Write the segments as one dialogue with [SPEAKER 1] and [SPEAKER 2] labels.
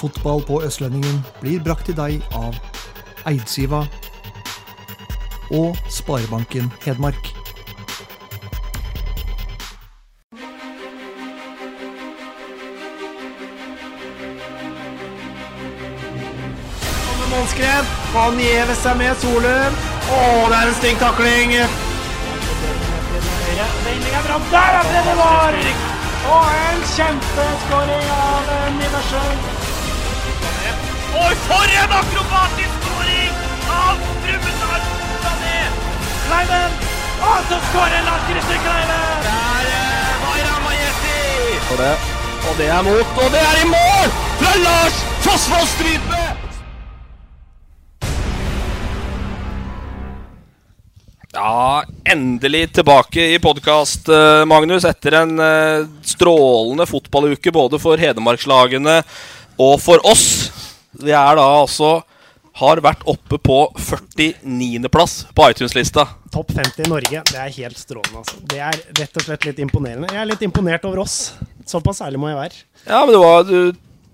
[SPEAKER 1] Fotball på Østlendingen blir brakt til deg av Eidsiva og Sparebanken Hedmark.
[SPEAKER 2] Målskred. Han gjever seg med Solum. Å, det er en stygg takling. Vending er bra. Der er det det var! Og en kjempeskåring av eh, Nibersen. Og for en akrobatisk skåring av Brumunddal Sané! Kleiven! Og så skårer Lars Christer Kleiven! Der var Ramajeti! Og det, og det er mot, og det er i mål! Fra Lars Fossvold Strype! Ja, endelig tilbake i podkast, Magnus. Etter en eh, strålende fotballuke både for Hedmarkslagene og for oss. Vi er da altså har vært oppe på 49.-plass på iTunes-lista.
[SPEAKER 3] Topp 50 i Norge, det er helt strålende. Altså. Det er rett og slett litt imponerende. Jeg er litt imponert over oss. Såpass ærlig må jeg være.
[SPEAKER 2] Ja, men det var, du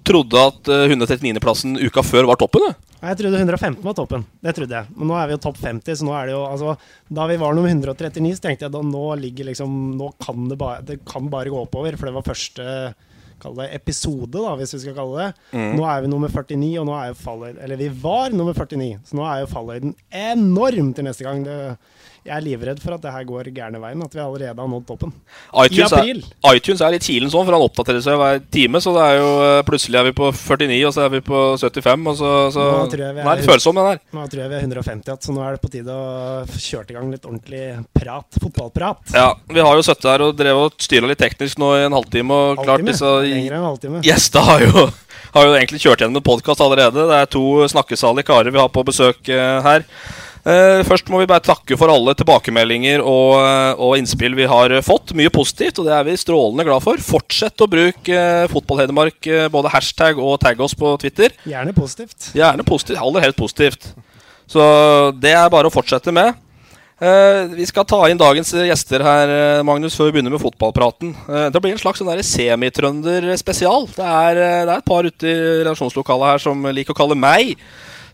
[SPEAKER 2] trodde at eh, 139.-plassen uka før var toppen, du?
[SPEAKER 3] Nei, Jeg trodde 115 var toppen. Det trodde jeg. Men nå er vi jo topp 50, så nå er det jo altså, Da vi var nummer 139, så tenkte jeg da nå ligger liksom Nå kan det bare, det kan bare gå oppover, for det var første kall det episode, da, hvis vi skal kalle det. Nå er vi nummer 49, og nå er jo fallhøyden Eller vi var nummer 49, så nå er jo fallhøyden enorm til neste gang. Det, jeg er livredd for at det her går gærne veien, at vi allerede har nådd toppen.
[SPEAKER 2] iTunes
[SPEAKER 3] I
[SPEAKER 2] er,
[SPEAKER 3] april.
[SPEAKER 2] iTunes er litt kilen sånn, for han oppdaterer seg hver time. Så det er jo eh, plutselig er vi på 49, og så er vi på 75, og så, så
[SPEAKER 3] Nå tror jeg vi
[SPEAKER 2] Den er
[SPEAKER 3] er-
[SPEAKER 2] litt følsom, den her.
[SPEAKER 3] Nå tror jeg vi er 150 igjen, så nå er det på tide å kjøre til gang litt ordentlig prat, fotballprat.
[SPEAKER 2] Ja, vi har jo sittet her og drevet og styra litt teknisk nå i en halvtime. Og klart
[SPEAKER 3] Halvtime.
[SPEAKER 2] disse
[SPEAKER 3] Lenger enn halvtime.
[SPEAKER 2] gjestene har jo, har jo egentlig kjørt gjennom en podkast allerede. Det er to snakkesalige karer vi har på besøk eh, her. Eh, først må vi bare takke for alle tilbakemeldinger og, eh, og innspill vi har eh, fått. Mye positivt, og det er vi strålende glad for. Fortsett å bruke uh, Fotballhedmark, eh, både hashtag og tagg oss på Twitter.
[SPEAKER 3] Gjerne positivt.
[SPEAKER 2] Gjerne positivt. Aller helst positivt. Så det er bare å fortsette med. Eh, vi skal ta inn dagens eh, gjester her, eh, Magnus, før vi begynner med fotballpraten. Eh, det blir en slags sånn der semitrønder-spesial. Det, er, eh, det er et par ute i redaksjonslokalet her som liker å kalle meg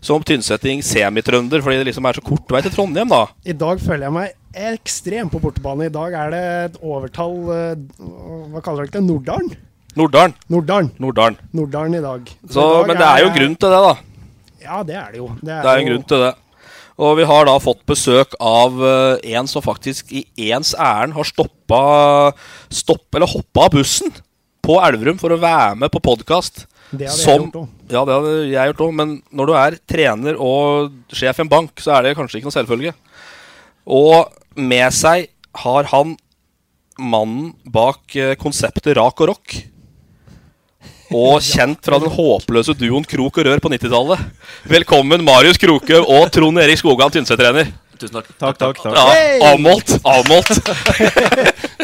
[SPEAKER 2] som tynnsetting semitrønder, fordi det liksom er så kort vei til Trondheim, da.
[SPEAKER 3] I dag føler jeg meg ekstremt på bortebane. I dag er det et overtall eh, Hva kaller dere det? Norddalen?
[SPEAKER 2] Norddalen.
[SPEAKER 3] Norddalen.
[SPEAKER 2] Norddalen.
[SPEAKER 3] Norddalen i dag. Så
[SPEAKER 2] Så,
[SPEAKER 3] i dag
[SPEAKER 2] men det er jo en grunn til det, da.
[SPEAKER 3] Ja, det er det jo.
[SPEAKER 2] Det er en grunn til det. Og vi har da fått besøk av eh, en som faktisk i ens ærend har stoppa stopp, Eller hoppa av bussen på Elverum for å være med på podkast.
[SPEAKER 3] Det hadde jeg gjort også.
[SPEAKER 2] Ja, det hadde jeg gjort òg. Men når du er trener og sjef i en bank, så er det kanskje ikke noe selvfølge. Og med seg har han mannen bak eh, konseptet Rak og Rock. Og kjent fra den håpløse duoen Krok og Rør på 90-tallet. Velkommen Marius Krokøv og Trond Erik Skogan, Tynset-trener.
[SPEAKER 4] Tusen takk.
[SPEAKER 5] Takk, takk, takk.
[SPEAKER 2] Ja, avmålt! Avmålt!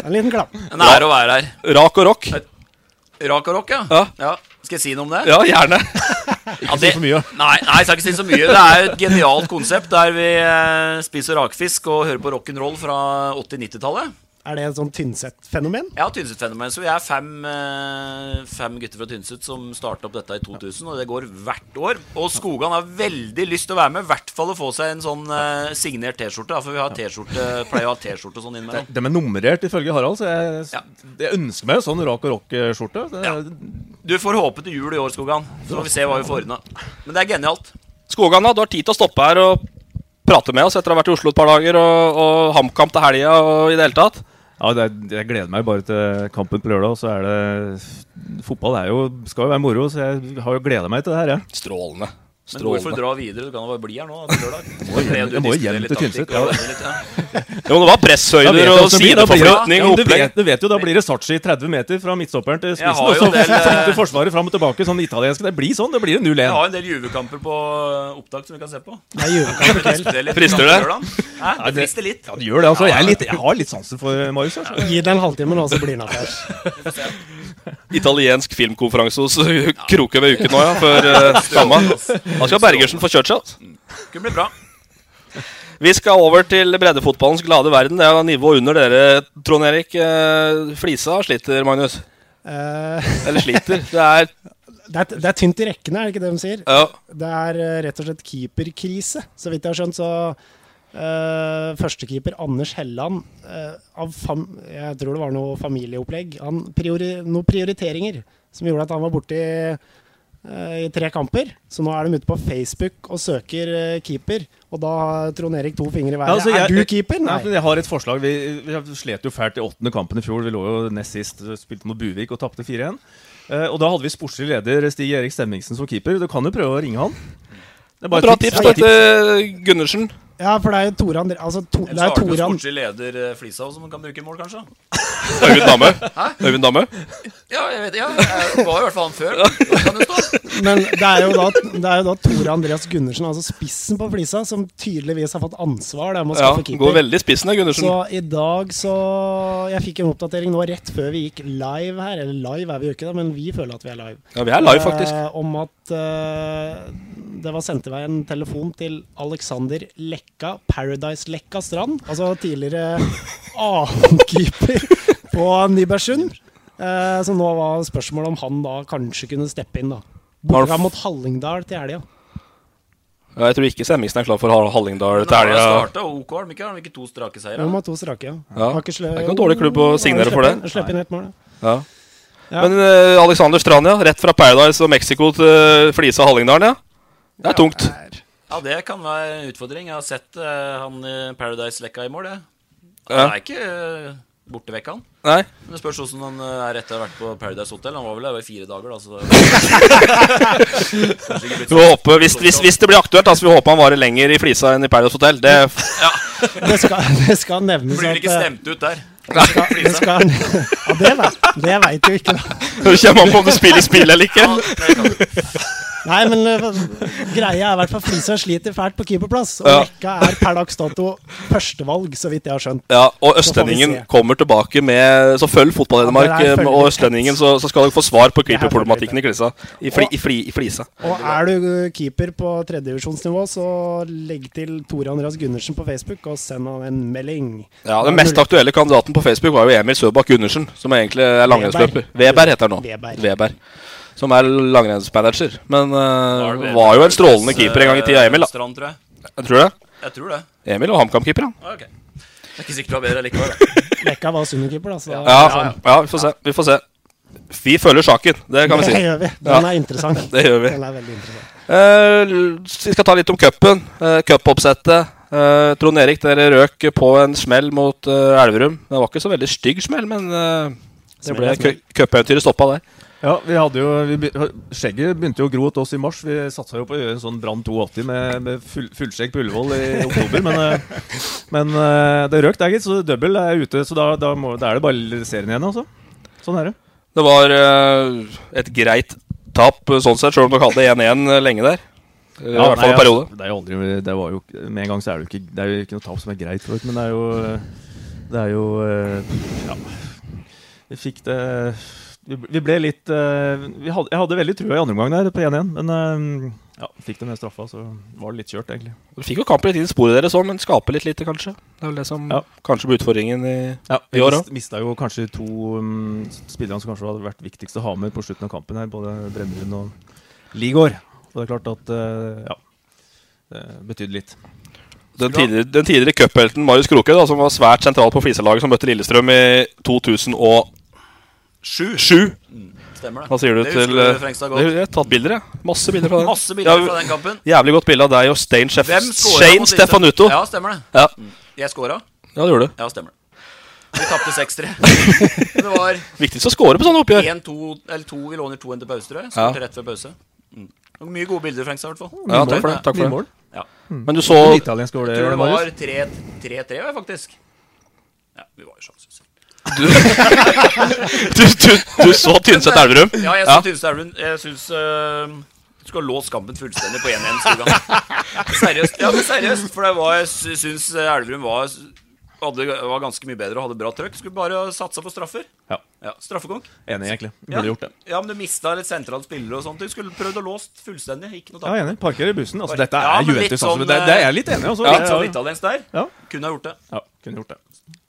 [SPEAKER 3] En liten klapp.
[SPEAKER 4] En ære å være her.
[SPEAKER 2] Rak og rock.
[SPEAKER 4] Rak og rock, ja.
[SPEAKER 2] Ja.
[SPEAKER 4] Skal jeg si noe om det?
[SPEAKER 2] Ja, gjerne.
[SPEAKER 4] Ikke si for mye. Nei, nei, jeg skal ikke si så mye. Det er jo et genialt konsept der vi eh, spiser rakfisk og hører på rock'n'roll fra 80-90-tallet.
[SPEAKER 3] Er det et sånn Tynset-fenomen?
[SPEAKER 4] Ja, Tynset-fenomen. Så vi er fem, eh, fem gutter fra Tynset som starta opp dette i 2000, og det går hvert år. Og Skogan har veldig lyst til å være med, i hvert fall å få seg en sånn eh, signert T-skjorte. da, For vi har T-skjorte, pleier å ha T-skjorte og sånn innimellom.
[SPEAKER 5] De er nummerert ifølge Harald, så jeg,
[SPEAKER 4] Ja.
[SPEAKER 5] jeg ønsker meg jo sånn rak og rock-skjorte. Det-
[SPEAKER 4] Ja. Du får håpe til jul i år, Skogan. Så får vi se hva vi får ordna. Men det er genialt.
[SPEAKER 2] Skogan, da, du har tid til å stoppe her og prate med oss etter å ha vært i Oslo et par dager, og, og HamKam til helga og i det hele tatt.
[SPEAKER 5] Ja, det er, jeg gleder meg bare til kampen på lørdag. og Så er det Fotball er jo, skal jo være moro, så jeg har jo gleda meg til det her. Jeg.
[SPEAKER 2] Strålende.
[SPEAKER 4] Men hvorfor dra videre? Du kan jo bare bli her nå. da, på lørdag.
[SPEAKER 5] må jo hjem-
[SPEAKER 4] Du
[SPEAKER 5] jeg må jo
[SPEAKER 4] diskuterer
[SPEAKER 5] hjem
[SPEAKER 4] litt
[SPEAKER 5] til Tynset,
[SPEAKER 4] taktikk, og
[SPEAKER 5] ja.
[SPEAKER 4] litt, ja.
[SPEAKER 5] Jo, det var presshøyder og sideforflytning og
[SPEAKER 4] opplegg.
[SPEAKER 5] Du vet jo, da blir det Sachi 30 meter fra midtstopperen til
[SPEAKER 4] Jeg
[SPEAKER 5] spissen,
[SPEAKER 4] har
[SPEAKER 5] og
[SPEAKER 4] jo
[SPEAKER 5] så
[SPEAKER 4] en del, eh,
[SPEAKER 5] flytter Forsvaret fram og tilbake sånn italiensk. Det blir sånn. Det blir
[SPEAKER 4] Jeg
[SPEAKER 5] 0-1.
[SPEAKER 4] har en del juvekamper på eh, opptak som vi kan se på.
[SPEAKER 5] Det er juvekamp i kveld.
[SPEAKER 4] Frister det litt?
[SPEAKER 5] Frister det?
[SPEAKER 4] Lørdag? Hæ?
[SPEAKER 5] Ja,
[SPEAKER 4] Det
[SPEAKER 5] det-
[SPEAKER 4] frister litt.
[SPEAKER 5] Ja, det gjør det, altså. Jeg, er litt, jeg har litt sansen for Marius. Altså.
[SPEAKER 3] Gi det en halvtime nå, så blir han her.
[SPEAKER 2] Italiensk filmkonferanse hos Kroke ved uken nå, ja. Før uh, Stamma. Da skal Bergersen få kjørt seg. altså.
[SPEAKER 4] Kunne bli bra.
[SPEAKER 2] Vi skal over til breddefotballens glade verden. Det er nivå under dere, Trond Erik. Eh, Flisa sliter, Magnus.
[SPEAKER 3] Eh.
[SPEAKER 2] Eller sliter. Det er
[SPEAKER 3] Det er, det er tynt i rekkene, er det ikke det de sier?
[SPEAKER 2] Ja.
[SPEAKER 3] Det er eh, rett og slett keeperkrise. Så vidt jeg har skjønt, så eh, Førstekeeper Anders Helland eh, av fam Jeg tror det var noe familieopplegg. Han priori noen prioriteringer som gjorde at han var borti eh, i tre kamper. Så nå er de ute på Facebook og søker eh, keeper. Og da har Trond Erik to fingre i været.
[SPEAKER 5] Altså,
[SPEAKER 3] er du keeper?
[SPEAKER 5] Nei.
[SPEAKER 3] Nei.
[SPEAKER 5] men jeg har et forslag. Vi, vi slet jo fælt i åttende kampen i fjor. Vi lå jo nest sist, eh, spilte mot Buvik og tapte 4-1. Eh, og da hadde vi sportslig leder Stig Erik Stemmingsen som keeper. Du kan jo prøve å ringe han. Det er
[SPEAKER 2] Bra
[SPEAKER 5] et
[SPEAKER 2] tips,
[SPEAKER 5] Ja,
[SPEAKER 2] da, til eh, Gundersen.
[SPEAKER 3] Ja, for det er jo Tore André... Altså, to, det
[SPEAKER 4] Eller
[SPEAKER 3] er
[SPEAKER 4] så har du
[SPEAKER 3] Tore André
[SPEAKER 4] sportslig leder eh, Flishaug som kan bruke mål, kanskje?
[SPEAKER 2] Øyvind Damme.
[SPEAKER 4] Hæ?
[SPEAKER 2] Øyvind Damme.
[SPEAKER 4] Ja, jeg vet ja. Jeg var i hvert fall han før. Det Kan jo stå.
[SPEAKER 3] Men det er, jo da, det er jo da Tore Andreas Gundersen, altså spissen på flisa, som tydeligvis har fått ansvar der med å
[SPEAKER 2] Ja,
[SPEAKER 3] skaffe keeper.
[SPEAKER 2] går veldig i spissen, da, Gundersen.
[SPEAKER 3] Så i dag så Jeg fikk en oppdatering nå rett før vi gikk live her. Eller live er vi jo ikke, da, men vi føler at vi er live.
[SPEAKER 2] Ja, vi er live, faktisk.
[SPEAKER 3] Eh, om at eh, det var sendt i vei en telefon til Alexander Lekka, Paradise Lekka Strand. Altså tidligere annenkeeper på Nybergsund. Eh, så nå var spørsmålet om han da kanskje kunne steppe inn, da. Bortsett fra mot Hallingdal til helga.
[SPEAKER 2] Ja, Jeg tror ikke Semmingsen er klar for Har- Hallingdal
[SPEAKER 4] Men
[SPEAKER 2] til
[SPEAKER 4] han har
[SPEAKER 2] helga.
[SPEAKER 4] startet, og OK, har de ikke, har de ikke to strake seire?
[SPEAKER 3] Ja. De har to strake, ja.
[SPEAKER 2] Ja.
[SPEAKER 3] Har ikke slø-
[SPEAKER 2] Det er ikke noen dårlig klubb å signere for det.
[SPEAKER 3] Slipper inn- Slipper inn ett mål, ja.
[SPEAKER 2] Ja.
[SPEAKER 3] Ja.
[SPEAKER 2] Men eh, Alexander Strand, ja. Rett fra Paradise og Mexico til eh, Flisa og Hallingdal, ja. Det er tungt.
[SPEAKER 4] Ja, det kan være en utfordring. Jeg har sett eh, han i Paradise-lekka i mål, jeg. Han
[SPEAKER 2] Ja.
[SPEAKER 4] er ikke eh, borte vekk, han.
[SPEAKER 2] Nei.
[SPEAKER 4] Men det spørs hvordan han eh, er etter å ha vært på Paradise Hotel. Han var vel der i fire dager, da, så Kanskje ikke
[SPEAKER 2] Vi
[SPEAKER 4] blitt så-
[SPEAKER 2] får håpe, hvis, hvis, hvis det blir aktuelt, da, så vi håper han varer lenger i Flisa enn i Paradise Hotel. Det
[SPEAKER 3] Det skal, det skal nevnes
[SPEAKER 4] Blir vel ikke
[SPEAKER 3] at, eh,
[SPEAKER 4] stemt ut der?
[SPEAKER 3] Det skal, det skal, ja, det, vet- det veit du ikke, da.
[SPEAKER 2] Det kommer an på om du spiller spill eller ikke.
[SPEAKER 3] Nei, men eh, greia er i hvert fall Flisa sliter fælt på keeperplass. Og
[SPEAKER 2] Ja.
[SPEAKER 3] Lekka er per dags dato førstevalg, så vidt jeg har skjønt.
[SPEAKER 2] Ja, og
[SPEAKER 3] Så får vi
[SPEAKER 2] Østlendingen
[SPEAKER 3] se.
[SPEAKER 2] kommer tilbake med Så følg
[SPEAKER 3] Ja, det er
[SPEAKER 2] Fotball-Hedmark eh,
[SPEAKER 3] følg-
[SPEAKER 2] og Østlendingen, så, så skal dere få svar på
[SPEAKER 3] Det er
[SPEAKER 2] keeperproblematikken i Klisa. I, fli, i, fli, i Flisa.
[SPEAKER 3] Og er du eh, keeper på tredjedivisjonsnivå, så legg til Tore Andreas Gundersen på Facebook, og send han en melding.
[SPEAKER 2] Ja, Den mest aktuelle kandidaten på Facebook var jo Emil Søbakk Gundersen, som egentlig er langrennsløper. Weber heter han nå.
[SPEAKER 3] Weber.
[SPEAKER 2] Weber. Som er langrennsmanager. Men eh,
[SPEAKER 4] Weber. Eh,
[SPEAKER 2] var jo en strålende keeper en gang i tida, Emil. da
[SPEAKER 4] Strand, tror jeg.
[SPEAKER 2] Jeg tror det.
[SPEAKER 4] Jeg tror det.
[SPEAKER 2] Emil var HamKam-keeper, han.
[SPEAKER 4] Ah, Ok. Jeg er ikke sikker på hva bedre likevel. da.
[SPEAKER 3] Lekka var sunderkeeper, da. Så
[SPEAKER 2] Ja, ja, vi får se. Vi får se. Vi følger saken, det kan vi si.
[SPEAKER 3] Det gjør vi.
[SPEAKER 2] Ja.
[SPEAKER 3] Den er interessant.
[SPEAKER 2] Det gjør vi.
[SPEAKER 3] Den er veldig interessant.
[SPEAKER 2] Eh, l- vi skal ta litt om cupen. Uh, Cupoppsettet. Eh, Trond Erik, dere røk på en smell mot eh, Elverum. Det var ikke så veldig stygg smell, men eh, det
[SPEAKER 5] Smell
[SPEAKER 2] ble
[SPEAKER 5] er smell.
[SPEAKER 2] cu- cupeventyret stoppa der.
[SPEAKER 5] Ja, vi hadde jo, vi, be- skjegget begynte jo å gro hos oss i mars. Vi satsa jo på å gjøre en sånn Brann 82 med, med full, fullskjegg på Ullevål i oktober. Men, eh, men eh, det røk der, gitt. Så double er ute. Så da, da, må, da er det bare serien igjen, altså. Sånn er det.
[SPEAKER 2] Det var eh, et greit tap, eh, sånn sett, sjøl om dere hadde 1-1 lenge der. Eh, I hvert fall
[SPEAKER 5] nei,
[SPEAKER 2] en periode.
[SPEAKER 5] altså, Det er jo aldri det var jo, ikke- Med en gang så er det jo ikke Det er jo ikke noe tap som er greit for dere, men det er jo eh, Det er jo eh, Ja. Vi fikk det Vi ble- vi ble litt eh, vi hadde, Jeg hadde veldig trua i andre omgang der på 1-1, men eh, ja, fikk det med straffa, så var det litt kjørt, egentlig.
[SPEAKER 2] Dere fikk jo kampen litt inn i sporet deres òg, men skaper litt lite, kanskje. Det er vel det som
[SPEAKER 5] Ja.
[SPEAKER 2] kanskje blir utfordringen i,
[SPEAKER 5] Ja,
[SPEAKER 2] i
[SPEAKER 5] vi
[SPEAKER 2] år òg.
[SPEAKER 5] mist, mista jo kanskje to um, spillere som kanskje hadde vært viktigst å ha med på slutten av kampen her, både Brennelund og Ligård. Og det er klart at eh, ja, det betydde litt.
[SPEAKER 2] Den tidligere, den tidligere cuphelten Marius Kroke, da, som var svært sentral på Flisa-laget, som møtte Lillestrøm i 2007 Sju.
[SPEAKER 4] Stemmer det.
[SPEAKER 2] Hva sier du
[SPEAKER 4] det
[SPEAKER 2] til eh,
[SPEAKER 4] husker du, Frengstad,
[SPEAKER 2] Det-
[SPEAKER 4] godt.
[SPEAKER 2] Jeg har tatt bilder, jeg. Masse bilder fra den.
[SPEAKER 4] Masse bilder
[SPEAKER 2] Ja,
[SPEAKER 4] fra den kampen.
[SPEAKER 2] Jævlig godt bilde av deg og Stein Chef
[SPEAKER 4] Hvem scoret
[SPEAKER 2] Shane
[SPEAKER 4] mot Lillestrøm?
[SPEAKER 2] Stefanuto.
[SPEAKER 4] Ja, stemmer det.
[SPEAKER 2] Ja.
[SPEAKER 4] Jeg scora.
[SPEAKER 2] Ja, det gjorde du.
[SPEAKER 4] Ja, stemmer det. Vi tapte 6-3. Det var
[SPEAKER 2] Viktigst å score på sånne oppgjør.
[SPEAKER 4] 1-2 Eller 2 Vi låner 2-1 til pause, tror jeg. Skåret
[SPEAKER 2] Ja.
[SPEAKER 4] rett før pause. Mm. Og Mye gode bilder, Frank, i hvert fall.
[SPEAKER 2] Ja, takk for det. Takk for det.
[SPEAKER 4] Ja.
[SPEAKER 2] Men du så
[SPEAKER 5] Hvor italiensk var det,
[SPEAKER 4] Jeg tror det
[SPEAKER 5] Marius?
[SPEAKER 4] var 3-3, var det faktisk. Ja, vi var jo sjanseløse.
[SPEAKER 2] Du- Du- du- du så Tynset-Elverum?
[SPEAKER 4] Ja, jeg så
[SPEAKER 2] Ja.
[SPEAKER 4] Tynset-Elverum. Jeg syns du skulle ha låst kampen fullstendig på 1-1-skogen. seriøst. Ja, men seriøst, for det var, jeg syns Elverum var, hadde, var ganske mye bedre og hadde bra trøkk. Skulle bare satsa på straffer.
[SPEAKER 5] Ja.
[SPEAKER 4] Straffekonk.
[SPEAKER 5] Enig, egentlig.
[SPEAKER 4] Ja.
[SPEAKER 5] Burde gjort det.
[SPEAKER 4] ja, men du mista litt sentrale spillere og sånt. Du skulle prøvd å låst fullstendig. Ikke noe
[SPEAKER 5] Ja, enig. Parker i bussen. Altså,
[SPEAKER 4] Parker.
[SPEAKER 5] dette er
[SPEAKER 4] Ja, men litt
[SPEAKER 5] Juventus.
[SPEAKER 4] sånn,
[SPEAKER 5] altså, det, det er jeg litt enig i. Altså.
[SPEAKER 4] Litt
[SPEAKER 5] Det er-
[SPEAKER 4] sånn italiensk der.
[SPEAKER 5] Ja.
[SPEAKER 4] Kunne ha gjort det.
[SPEAKER 5] Ja, kunne gjort det.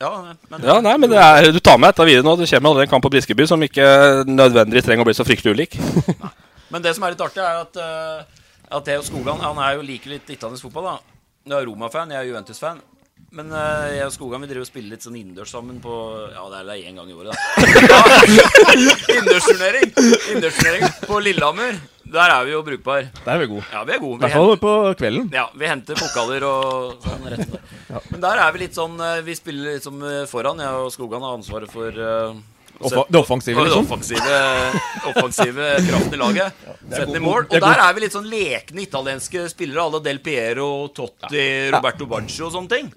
[SPEAKER 4] Ja, men
[SPEAKER 2] Ja, nei, men det er, Du tar med dette videre nå. Du kommer med allerede en kamp på Briskeby som ikke nødvendigvis trenger å bli så fryktelig ulik.
[SPEAKER 4] Men det som er litt artig, er at, eh, at Theo Skogan han er jo like litt italiensk fotball. da Jeg er Roma-fan, jeg er Juventus-fan. Men eh, jeg og Skogan vi driver og spiller litt sånn innendørs sammen på Ja, det er det én gang i året, da. Ja, Innendørsturnering! Innendørsturnering på Lillehammer. Der er vi jo brukbar.
[SPEAKER 5] Der er vi gode.
[SPEAKER 4] Ja, vi er gode.
[SPEAKER 5] I hvert fall på kvelden.
[SPEAKER 4] Ja, vi henter pokaler og sånn rett og slett. Men der er vi litt sånn eh, Vi spiller litt som eh, foran. Jeg og Skogan har ansvaret for eh, å
[SPEAKER 5] Offa-
[SPEAKER 4] sette-
[SPEAKER 5] det offensive,
[SPEAKER 4] for Det
[SPEAKER 5] liksom.
[SPEAKER 4] offensive, offensive kraften i laget.
[SPEAKER 5] det er
[SPEAKER 4] Sette den i
[SPEAKER 5] god-
[SPEAKER 4] mål.
[SPEAKER 5] det er
[SPEAKER 4] Og
[SPEAKER 5] god-
[SPEAKER 4] der er vi litt sånn lekne italienske spillere. Alle Del Piero, Totti, Roberto Baggio og sånne ting.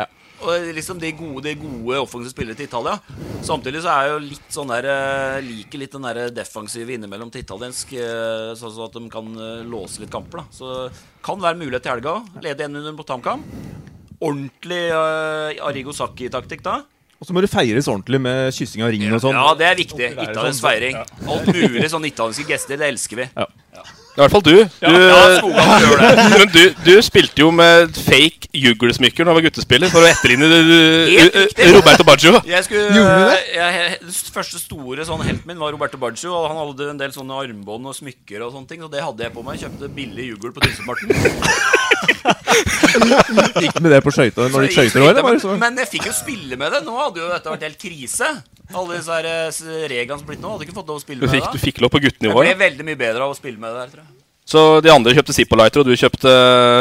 [SPEAKER 4] Og liksom de gode, de gode offensive spillere til Italia. Samtidig så er jeg jo litt sånn der eh, Liker litt den der defensive innimellom til italiensk. eh, Sånn så at de kan eh, låse litt kamper, da. Så kan være mulighet til helga. Lede 1-1 på Tamkam. Ordentlig eh, Arrigo Sacchi-taktikk da.
[SPEAKER 5] Og så må du feires ordentlig med kyssing av ringen og sånn.
[SPEAKER 4] Ja, det er viktig.
[SPEAKER 5] Oppi der og
[SPEAKER 4] Italiensk
[SPEAKER 5] sånn.
[SPEAKER 4] feiring.
[SPEAKER 5] Ja.
[SPEAKER 4] Alt mulig sånn italienske gester, det elsker vi.
[SPEAKER 2] I hvert fall du.
[SPEAKER 4] Ja,
[SPEAKER 2] Du, eh,
[SPEAKER 4] ja, Skogan gjør det.
[SPEAKER 2] men du, du spilte jo med fake juglesmykker da du var guttespiller, for å etterligne
[SPEAKER 4] Helt
[SPEAKER 2] du-
[SPEAKER 4] riktig.
[SPEAKER 2] du- Roberto Baggio. Gjorde
[SPEAKER 4] Jeg
[SPEAKER 2] du
[SPEAKER 4] skulle
[SPEAKER 2] det?
[SPEAKER 4] jeg, Den første store sånn helten min var Roberto Baggio. Og han hadde en del sånne armbånd og smykker og sånne ting, så det hadde jeg på meg. Kjøpte billig jugel på Tynsemarten.
[SPEAKER 5] Gikk med det på skøyter når du skøyter òg, eller? bare
[SPEAKER 4] Men,
[SPEAKER 5] sånn. så-
[SPEAKER 4] men jeg fikk jo spille med det. Nå hadde jo dette vært helt krise. Alle disse her, eh, s- reglene som blitt nå, hadde ikke fått lov å spille
[SPEAKER 2] Du
[SPEAKER 4] med
[SPEAKER 2] fikk-
[SPEAKER 4] det. da.
[SPEAKER 2] du fikk lov på guttenivå,
[SPEAKER 4] Jeg ble veldig mye bedre av å spille med det der, tror jeg.
[SPEAKER 2] Så de andre kjøpte Zippo-lighter, og du kjøpte,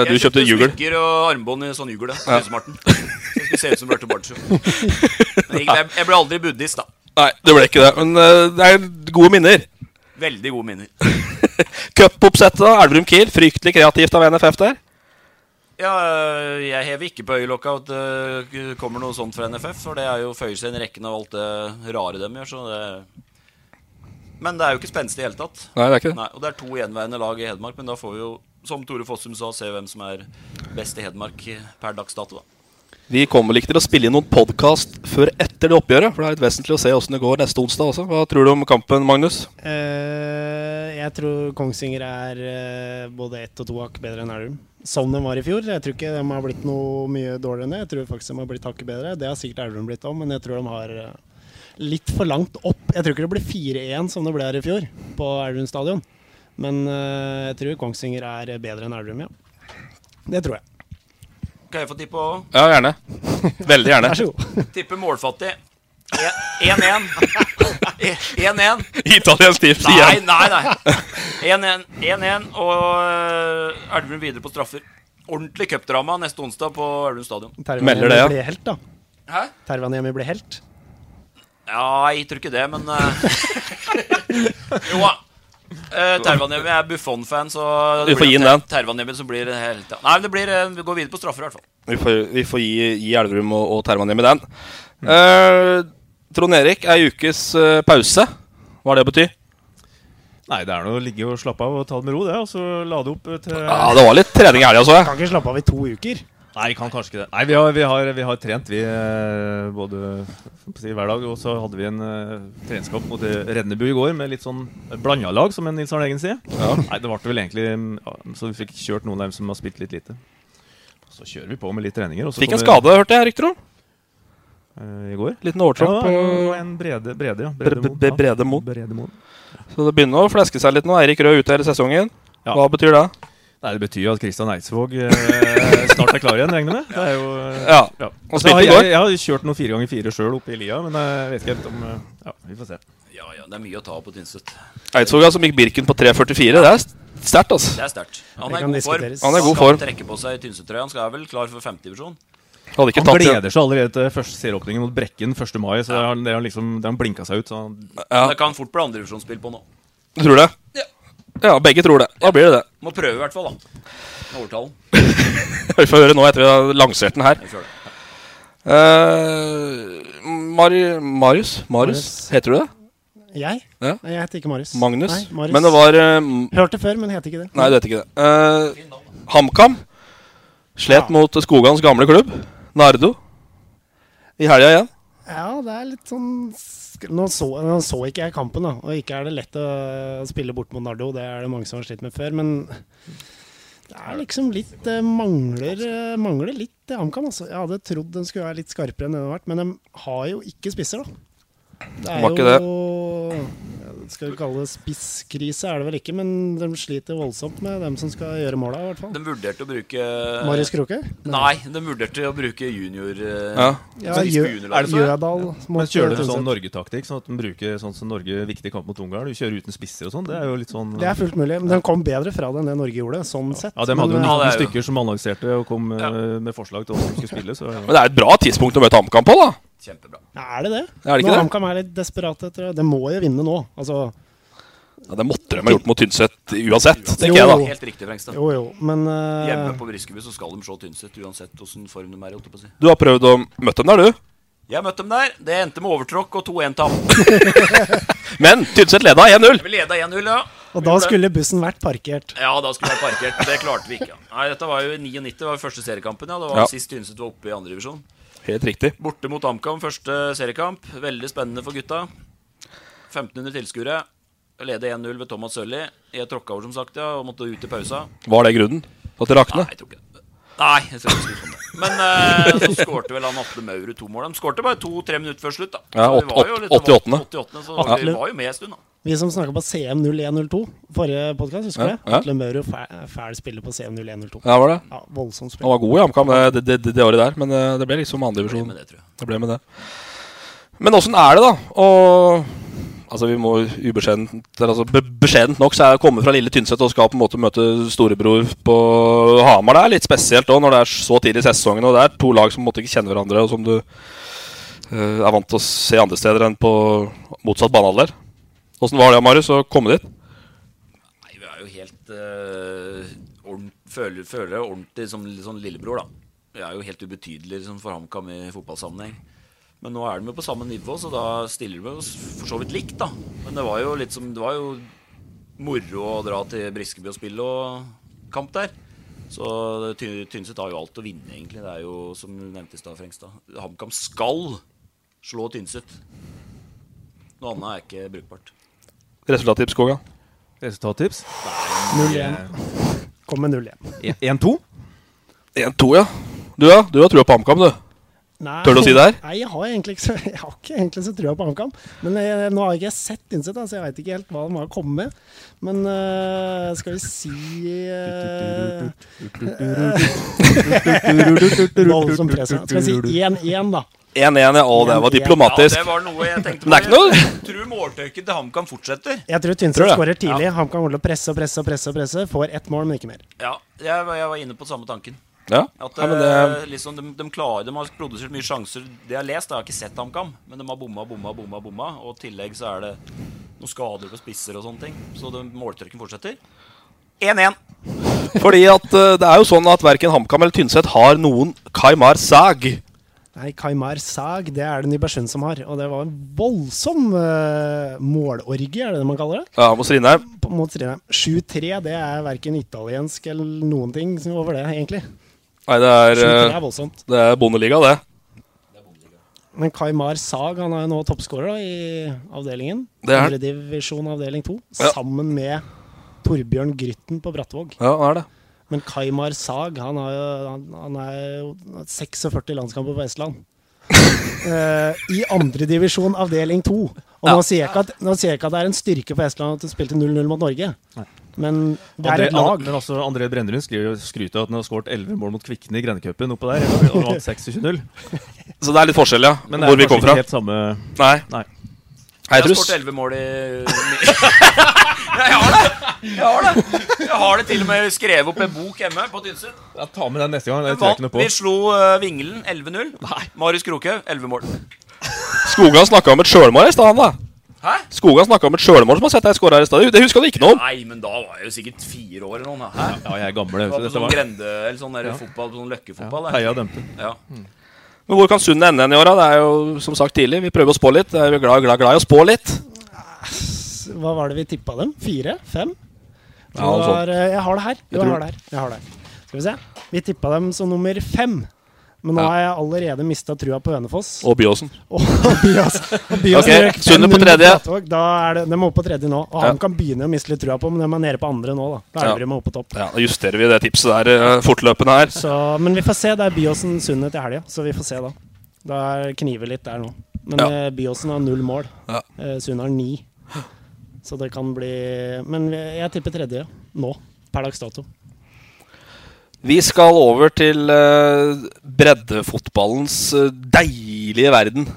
[SPEAKER 2] du
[SPEAKER 4] Jeg
[SPEAKER 2] kjøpte jugel.
[SPEAKER 4] smykker og armbånd i sånn jugel. da,
[SPEAKER 2] Ja.
[SPEAKER 4] Tynsemarten. Så det skulle se ut som Bjarte Bartsjo. Men jeg, jeg- jeg ble aldri buddhist, da.
[SPEAKER 2] Nei, det ble ikke det. Men eh, det er gode minner.
[SPEAKER 4] Veldig gode minner.
[SPEAKER 2] Cupoppsettet, Elverum-Kiel. Fryktelig kreativt av NFF der.
[SPEAKER 4] Ja, øh, jeg hever ikke på øyelokka at det kommer noe sånt fra NFF, for det er jo føyer seg inn i rekken av alt det rare de gjør, så det Men det er jo ikke spenstig i det hele tatt.
[SPEAKER 2] Nei, det er ikke det.
[SPEAKER 4] og det er to gjenværende lag i Hedmark, men da får vi jo, som Tore Fossum sa, se hvem som er best i Hedmark per dags dato, da.
[SPEAKER 2] Vi kommer vel ikke til å spille inn noen podkast før etter det oppgjøret. For det er litt vesentlig å se åssen det går neste onsdag også. Hva tror du om kampen, Magnus?
[SPEAKER 3] Eh, jeg tror Kongsvinger er eh, både ett og to hakk bedre enn Elverum. Som de var i fjor. Jeg tror ikke de har blitt noe mye dårligere enn det. Jeg tror faktisk de har blitt hakket bedre. Det har sikkert Elverum blitt òg, men jeg tror de har eh, litt for langt opp. Jeg tror ikke det blir 4-1 som det ble her i fjor, på Elverum stadion. Men eh, jeg tror Kongsvinger er bedre enn Elverum, ja. Det tror jeg.
[SPEAKER 4] Kan jeg få tippe òg?
[SPEAKER 2] Ja, gjerne. Veldig gjerne. Vær så
[SPEAKER 4] Tippe målfattig. E- 1-1. E- 1-1.
[SPEAKER 2] Italiensk tips
[SPEAKER 4] Nei,
[SPEAKER 2] igjen.
[SPEAKER 4] nei, nei. 1-1, 1-1 og øh, Elverum videre på straffer. Ordentlig cupdrama neste onsdag på Elverum stadion.
[SPEAKER 3] Tervaniemi
[SPEAKER 2] det, ja.
[SPEAKER 3] blir helt, da.
[SPEAKER 4] Hæ?
[SPEAKER 3] Tervaniemi blir helt.
[SPEAKER 4] Ja, jeg tror ikke det, men øh, Jo da. Uh, Tervanemi er Buffon-fan, så
[SPEAKER 2] Vi får gi den den.
[SPEAKER 4] Tervanemi som blir helt ja. Nei, men det blir, øh, vi går videre på straffer, i hvert fall.
[SPEAKER 2] Vi får, vi får gi, gi Elverum og, og Terman hjem i den. Eh, Trond Erik, ei ukes eh, pause. Hva det betyr?
[SPEAKER 5] Nei, det er noe å ligge og slappe av og ta det med ro, det. Og så lade opp eh, til
[SPEAKER 2] Ja, det var litt trening i helga, så jeg.
[SPEAKER 3] Kan ikke slappe av i to uker.
[SPEAKER 5] Nei, kan kanskje ikke det. Nei, vi har, vi har, vi har trent, vi, eh, både hva skal jeg si, hver dag. Og så hadde vi en uh, treningskamp mot eh, Rennebu i går med litt sånn blanda lag, som en Nils Arne Eggen sier. Nei, det ble vel egentlig mm, ja, Så vi fikk kjørt noen av dem som har spilt litt lite. Så kjører vi på med litt treninger. og så
[SPEAKER 2] Fikk en
[SPEAKER 5] kommer-
[SPEAKER 2] skade, hørte jeg rykter om.
[SPEAKER 5] I går.
[SPEAKER 2] Liten overtramp
[SPEAKER 5] Ja,
[SPEAKER 2] på-
[SPEAKER 5] og en brede, brede, ja.
[SPEAKER 2] Bre-
[SPEAKER 5] Brede Moen,
[SPEAKER 2] bre-
[SPEAKER 5] ja.
[SPEAKER 2] eh, Brede Moen.
[SPEAKER 5] Brede Moen.
[SPEAKER 2] eh. Så det begynner å fleske seg litt nå. Eirik Rød ute hele sesongen.
[SPEAKER 5] Ja.
[SPEAKER 2] Hva betyr det?
[SPEAKER 5] Nei, Det betyr jo at Kristian Eidsvåg eh, snart er klar igjen, regner jeg med. Det er jo, eh,
[SPEAKER 2] Ja. Han
[SPEAKER 5] Altså, jeg,
[SPEAKER 2] spilte
[SPEAKER 5] har-
[SPEAKER 2] i går.
[SPEAKER 5] jeg, jeg har kjørt noen fire ganger fire sjøl oppe i lia, men jeg vet ikke helt om eh, Ja, vi får se.
[SPEAKER 4] Ja, ja, det er mye å ta på Tynset.
[SPEAKER 2] Eidsvåg som gikk Birken på 3,44. Det er sterkt, altså.
[SPEAKER 4] Det er sterkt. Han
[SPEAKER 2] Det
[SPEAKER 4] er i
[SPEAKER 2] kan
[SPEAKER 4] god form.
[SPEAKER 2] diskuteres. Han er i god
[SPEAKER 4] skal
[SPEAKER 2] form.
[SPEAKER 4] trekke på seg Tynset-trøya. Han skal er vel klar for femtedivisjon.
[SPEAKER 2] Hadde ikke
[SPEAKER 5] han
[SPEAKER 2] tatt det.
[SPEAKER 5] gleder seg allerede til første serieåpningen mot Brekken 1. mai. Så det har han, det har han liksom, det har han blinka seg ut. Så han,
[SPEAKER 4] Det kan fort bli andredivisjonsspill på nå.
[SPEAKER 2] Du tror det? Ja, begge tror det. Da blir det det.
[SPEAKER 4] Må prøve i hvert fall, da. Overtalen.
[SPEAKER 2] Vi får høre nå etter vi har lansert den her.
[SPEAKER 4] Vi får det.
[SPEAKER 2] Eh, Mari, Marius? Marius? Heter du det?
[SPEAKER 3] Jeg?
[SPEAKER 2] Ja.
[SPEAKER 3] Nei, jeg heter ikke Marius.
[SPEAKER 2] Magnus?
[SPEAKER 3] Nei, Marius.
[SPEAKER 2] Men det var eh,
[SPEAKER 3] Hørte før, men heter ikke det.
[SPEAKER 2] Nei, du vet ikke det. Eh, HamKam slet mot Skogans gamle klubb, Nardo, i helga igjen.
[SPEAKER 3] Ja, det er litt sånn sk- nå så, nå så ikke jeg kampen, da. Og ikke er det lett å spille bort mot Nardo, det er det mange som har slitt med før. Men det er liksom litt eh, Mangler, eh, mangler litt eh, HamKam, altså. Jeg hadde trodd den skulle være litt skarpere enn den har vært, men de har jo ikke spisser, da. Det
[SPEAKER 2] Var ikke
[SPEAKER 3] jo ja, Skal vi kalle det spisskrise, er det vel ikke, men de sliter voldsomt med dem som skal gjøre måla, i hvert fall.
[SPEAKER 4] De vurderte å bruke
[SPEAKER 3] Marius Kroke?
[SPEAKER 4] Nei, de vurderte å bruke junior eh,
[SPEAKER 5] Ja.
[SPEAKER 3] Ja,
[SPEAKER 4] som
[SPEAKER 3] Gjø-
[SPEAKER 4] juniorlag.
[SPEAKER 3] Er det så? Gjødal mot eh,
[SPEAKER 5] Men kjører du
[SPEAKER 3] Tynset.
[SPEAKER 5] sånn Norge-taktikk, sånn at de bruker sånn som Norge viktig kamp mot Ungarn? Du kjører uten spisser og sånn? Det er jo litt sånn
[SPEAKER 3] Det er fullt mulig. Men den kom bedre fra det enn det Norge gjorde, sånn sett.
[SPEAKER 5] Ja, de hadde jo
[SPEAKER 3] Men,
[SPEAKER 5] 19
[SPEAKER 3] eh,
[SPEAKER 5] stykker som annonserte og kom eh, med forslag til hvordan de skulle spille. Så,
[SPEAKER 2] Men det er et bra tidspunkt å møte HamKam på, da.
[SPEAKER 4] Kjempebra.
[SPEAKER 3] eh, Er det det?
[SPEAKER 2] Er det ikke
[SPEAKER 3] Når
[SPEAKER 2] det?
[SPEAKER 3] HamKam er litt desperate etter det. De må jo vinne nå. Altså,
[SPEAKER 2] Ja, det måtte de ha gjort mot Tynset uansett,
[SPEAKER 3] Jo,
[SPEAKER 2] tenker jeg da.
[SPEAKER 3] jo.
[SPEAKER 4] Helt riktig, Frengstad.
[SPEAKER 3] Jo, jo, men eh,
[SPEAKER 4] Hjemme på Briskeby så skal de se Tynset, uansett hvordan form de er i. holdt jeg på å si.
[SPEAKER 2] Du har prøvd å møte dem der, du.
[SPEAKER 4] Jeg møtte dem der. Det endte med overtråkk og 2-1-tap.
[SPEAKER 2] Men Tynset leda 1-0.
[SPEAKER 4] Vi leda 1-0, ja.
[SPEAKER 3] Og da skulle bussen vært parkert.
[SPEAKER 4] Ja, da skulle jeg parkert. Det klarte vi ikke. ja. Nei, Dette var jo i 99, det var jo første seriekampen. ja. Det var
[SPEAKER 2] Ja.
[SPEAKER 4] sist Tynset var oppe i andre divisjon.
[SPEAKER 2] Helt riktig.
[SPEAKER 4] Borte mot AmKam, første seriekamp. Veldig spennende for gutta. 1500 tilskuere. Leder 1-0 ved Thomas Sølli. Jeg tråkka over, som sagt, ja, og måtte ut i pausa.
[SPEAKER 2] Var det grunnen? At det rakna?
[SPEAKER 4] Nei, jeg tror ikke det. Nei, jeg tror ikke det skulle komme. Men eh, så skårte vel han Atle Maurud to mål. De skårte bare to-tre minutter før slutt, da.
[SPEAKER 2] Ja,
[SPEAKER 4] Så vi
[SPEAKER 2] åt-
[SPEAKER 4] var jo
[SPEAKER 2] åt-
[SPEAKER 4] litt- det var
[SPEAKER 2] 88..
[SPEAKER 4] 88. Så var, vi
[SPEAKER 2] Atle-
[SPEAKER 4] var jo med en stund, da.
[SPEAKER 3] Vi som snakka på CM0102 forrige podkast, husker du
[SPEAKER 2] Ja,
[SPEAKER 3] det?
[SPEAKER 2] ja.
[SPEAKER 3] Atle Møhrer, fæl, fæl spiller på CM0102.
[SPEAKER 2] Ja, var det?
[SPEAKER 3] Ja, voldsomt spill.
[SPEAKER 2] Han var god i HamKam det, det, det, det året der, men eh, det ble liksom andredivisjon. Det ble med det. Men åssen er det, da? Og altså, vi må ubeskjedent eller, altså, be Beskjedent nok så er det å komme fra lille Tynset og skal på en måte møte storebror på Hamar. Det er litt spesielt òg, når det er så tidlig i sesongen og det er to lag som på en måte ikke kjenner hverandre, og som du eh, er vant til å se andre steder enn på motsatt banehalvdel. Åssen var det, Marius, å komme dit?
[SPEAKER 4] Nei, vi er jo helt eh, ordent, føler, føler jeg ordentlig som litt sånn lillebror, da. Vi er jo helt ubetydelig liksom, for HamKam i fotballsammenheng. Men nå er de jo på samme nivå, så da stiller de oss for så vidt likt, da. Men det var jo litt som Det var jo moro å dra til Briskeby og spille og kamp der. Så Ty- Tynset har jo alt å vinne, egentlig. Det er jo, som du nevnte i stad, Frengstad. HamKam skal slå Tynset. Noe annet er ikke brukbart.
[SPEAKER 2] Resultattips, Koga?
[SPEAKER 5] Resultattips?
[SPEAKER 3] 0-1. Kom med 0-1.
[SPEAKER 5] 1-2?
[SPEAKER 2] 1-2, ja. Du, ja. Du har trua på HamKam, du.
[SPEAKER 3] Nei,
[SPEAKER 2] Tør du å si det her?
[SPEAKER 3] Nei, jeg har egentlig ikke så, jeg har ikke egentlig så trua på HamKam. Men jeg, nå har jeg ikke sett Tynset, da, så jeg veit ikke helt hva de har kommet med. Men øh, skal vi si øh, Voldsomt press. Skal vi si 1-1, da?
[SPEAKER 2] 1-1, ja. Å, det var
[SPEAKER 3] 1-1.
[SPEAKER 2] diplomatisk.
[SPEAKER 4] Ja, det var noe jeg tenkte på.
[SPEAKER 2] Men det er ikke noe
[SPEAKER 4] Jeg tror måltøyket til HamKam fortsetter.
[SPEAKER 3] Jeg tror
[SPEAKER 2] Tror du
[SPEAKER 3] Tynset
[SPEAKER 2] det?
[SPEAKER 3] skårer tidlig. HamKam holder på å presse og presse og presse. og presse Får ett mål, men ikke mer.
[SPEAKER 4] Ja, jeg, var- jeg var inne på samme tanken.
[SPEAKER 2] Ja.
[SPEAKER 4] At
[SPEAKER 2] Ja, men
[SPEAKER 4] eh,
[SPEAKER 2] det-
[SPEAKER 4] liksom, de, de klarer, de har produsert mye sjanser. Det jeg har lest, jeg har ikke sett HamKam, men de har bomma, bomma, bomma. bomma Og i tillegg så er det noen skader på spisser og sånne ting. Så de- måltørken fortsetter. 1-1.
[SPEAKER 2] Fordi at eh, det er jo sånn at verken HamKam eller Tynset har noen Kaimar Sag.
[SPEAKER 3] Nei, Kaimar Sag, det er det Nybergsund som har. Og det var en voldsom øh, målorgie, er det det man kaller det?
[SPEAKER 2] Ja, mot Strindheim.
[SPEAKER 3] på- mot Strindheim. 7-3, det er verken italiensk eller noen ting som over det, egentlig.
[SPEAKER 2] Nei, det er,
[SPEAKER 3] Skyter
[SPEAKER 2] eh,
[SPEAKER 3] er voldsomt.
[SPEAKER 2] det er Bondeliga, det.
[SPEAKER 3] Men Kaimar Sag han er jo nå toppskårer da, i avdelingen.
[SPEAKER 2] Det er han.
[SPEAKER 3] Andredivisjon avdeling 2.
[SPEAKER 2] Ja.
[SPEAKER 3] Sammen med Torbjørn Grytten på Brattvåg.
[SPEAKER 2] Ja, det er det.
[SPEAKER 3] Men Kaimar Sag han, har jo, han, han er jo 46 landskamper på Estland. Eh, I andredivisjon avdeling 2. Og nå, sier jeg ikke at, nå sier jeg ikke at det er en styrke for Estland at de spilte 0-0 mot Norge, men det er
[SPEAKER 5] André,
[SPEAKER 3] et lag.
[SPEAKER 5] Men også André Brennerud skriver- skryter av at han har skåret 11 mål mot Kvikne i Grendecupen oppå der. Og han vant 26-0
[SPEAKER 2] Så det er litt forskjell, ja.
[SPEAKER 5] Men det er
[SPEAKER 2] hvor vi kom
[SPEAKER 5] kanskje
[SPEAKER 2] fra.
[SPEAKER 5] ikke helt samme-
[SPEAKER 2] Nei.
[SPEAKER 5] Nei.
[SPEAKER 2] Hei,
[SPEAKER 4] jeg har
[SPEAKER 2] Trus.
[SPEAKER 4] skåret 11 mål i Jeg har det! Jeg har det Jeg har det til og med skrevet opp en bok hjemme på Tynset.
[SPEAKER 5] Ja, ta med den neste gang. Det tror jeg ikke
[SPEAKER 4] Vant,
[SPEAKER 5] noe på.
[SPEAKER 4] vi slo eh, Vingelen 11-0. Marius Krokhaug 11 mål.
[SPEAKER 2] Skogan snakka om et sjølmål i stad, han da. Skogan snakka om et sjølmål som har sett deg skåre her i stad. Det huska du ikke noe om.
[SPEAKER 4] Nei, men da var jeg jo sikkert fire år eller noe. da. Hæ?
[SPEAKER 2] Ja, jeg er gammel, jeg
[SPEAKER 4] Det
[SPEAKER 2] husker
[SPEAKER 4] var på
[SPEAKER 2] dette
[SPEAKER 4] sånn
[SPEAKER 2] var.
[SPEAKER 4] grende, eller sånn der
[SPEAKER 2] Ja.
[SPEAKER 4] fotball, sånn løkkefotball.
[SPEAKER 2] Ja,
[SPEAKER 4] der.
[SPEAKER 2] heia og dømte.
[SPEAKER 4] Ja.
[SPEAKER 2] Men hvor kan Sundet ende igjen i åra? Det er jo som sagt tidlig. Vi prøver å spå litt. Vi er glad, glad, glad i å spå litt.
[SPEAKER 3] Hva var det vi tippa dem? Fire? Fem? Det
[SPEAKER 2] Ja, noe sånt.
[SPEAKER 3] var, eh, jeg har det her. Jo,
[SPEAKER 2] tror-
[SPEAKER 3] jeg, har det her. jeg har det her. Skal vi se. Vi tippa dem som nummer fem. Men nå
[SPEAKER 2] Ja.
[SPEAKER 3] har jeg allerede mista trua på Hønefoss.
[SPEAKER 2] Og Byåsen.
[SPEAKER 3] Og Byås. Og Byås
[SPEAKER 2] Ok,
[SPEAKER 3] røk
[SPEAKER 2] Sundet på
[SPEAKER 3] 5-0
[SPEAKER 2] tredje.
[SPEAKER 3] Flatåg. Da er det, de er oppe på tredje nå. Og
[SPEAKER 2] Ja.
[SPEAKER 3] han kan begynne å miste litt trua på, men de er nede på andre nå. Da Da
[SPEAKER 2] Ja.
[SPEAKER 3] er de oppe på topp.
[SPEAKER 2] Ja, Da justerer vi det tipset der eh, fortløpende her.
[SPEAKER 3] Så, men vi får se. Det er Byåsen Sundet i helga, så vi får se da. Da er- kniver litt der nå. Men
[SPEAKER 2] Ja.
[SPEAKER 3] eh, Byåsen har null mål.
[SPEAKER 2] Ja.
[SPEAKER 3] Eh, Sundet har ni. Så det kan bli Men vi- jeg tipper tredje nå. Per dags dato.
[SPEAKER 2] Vi skal over til eh, breddefotballens eh, deilige verden.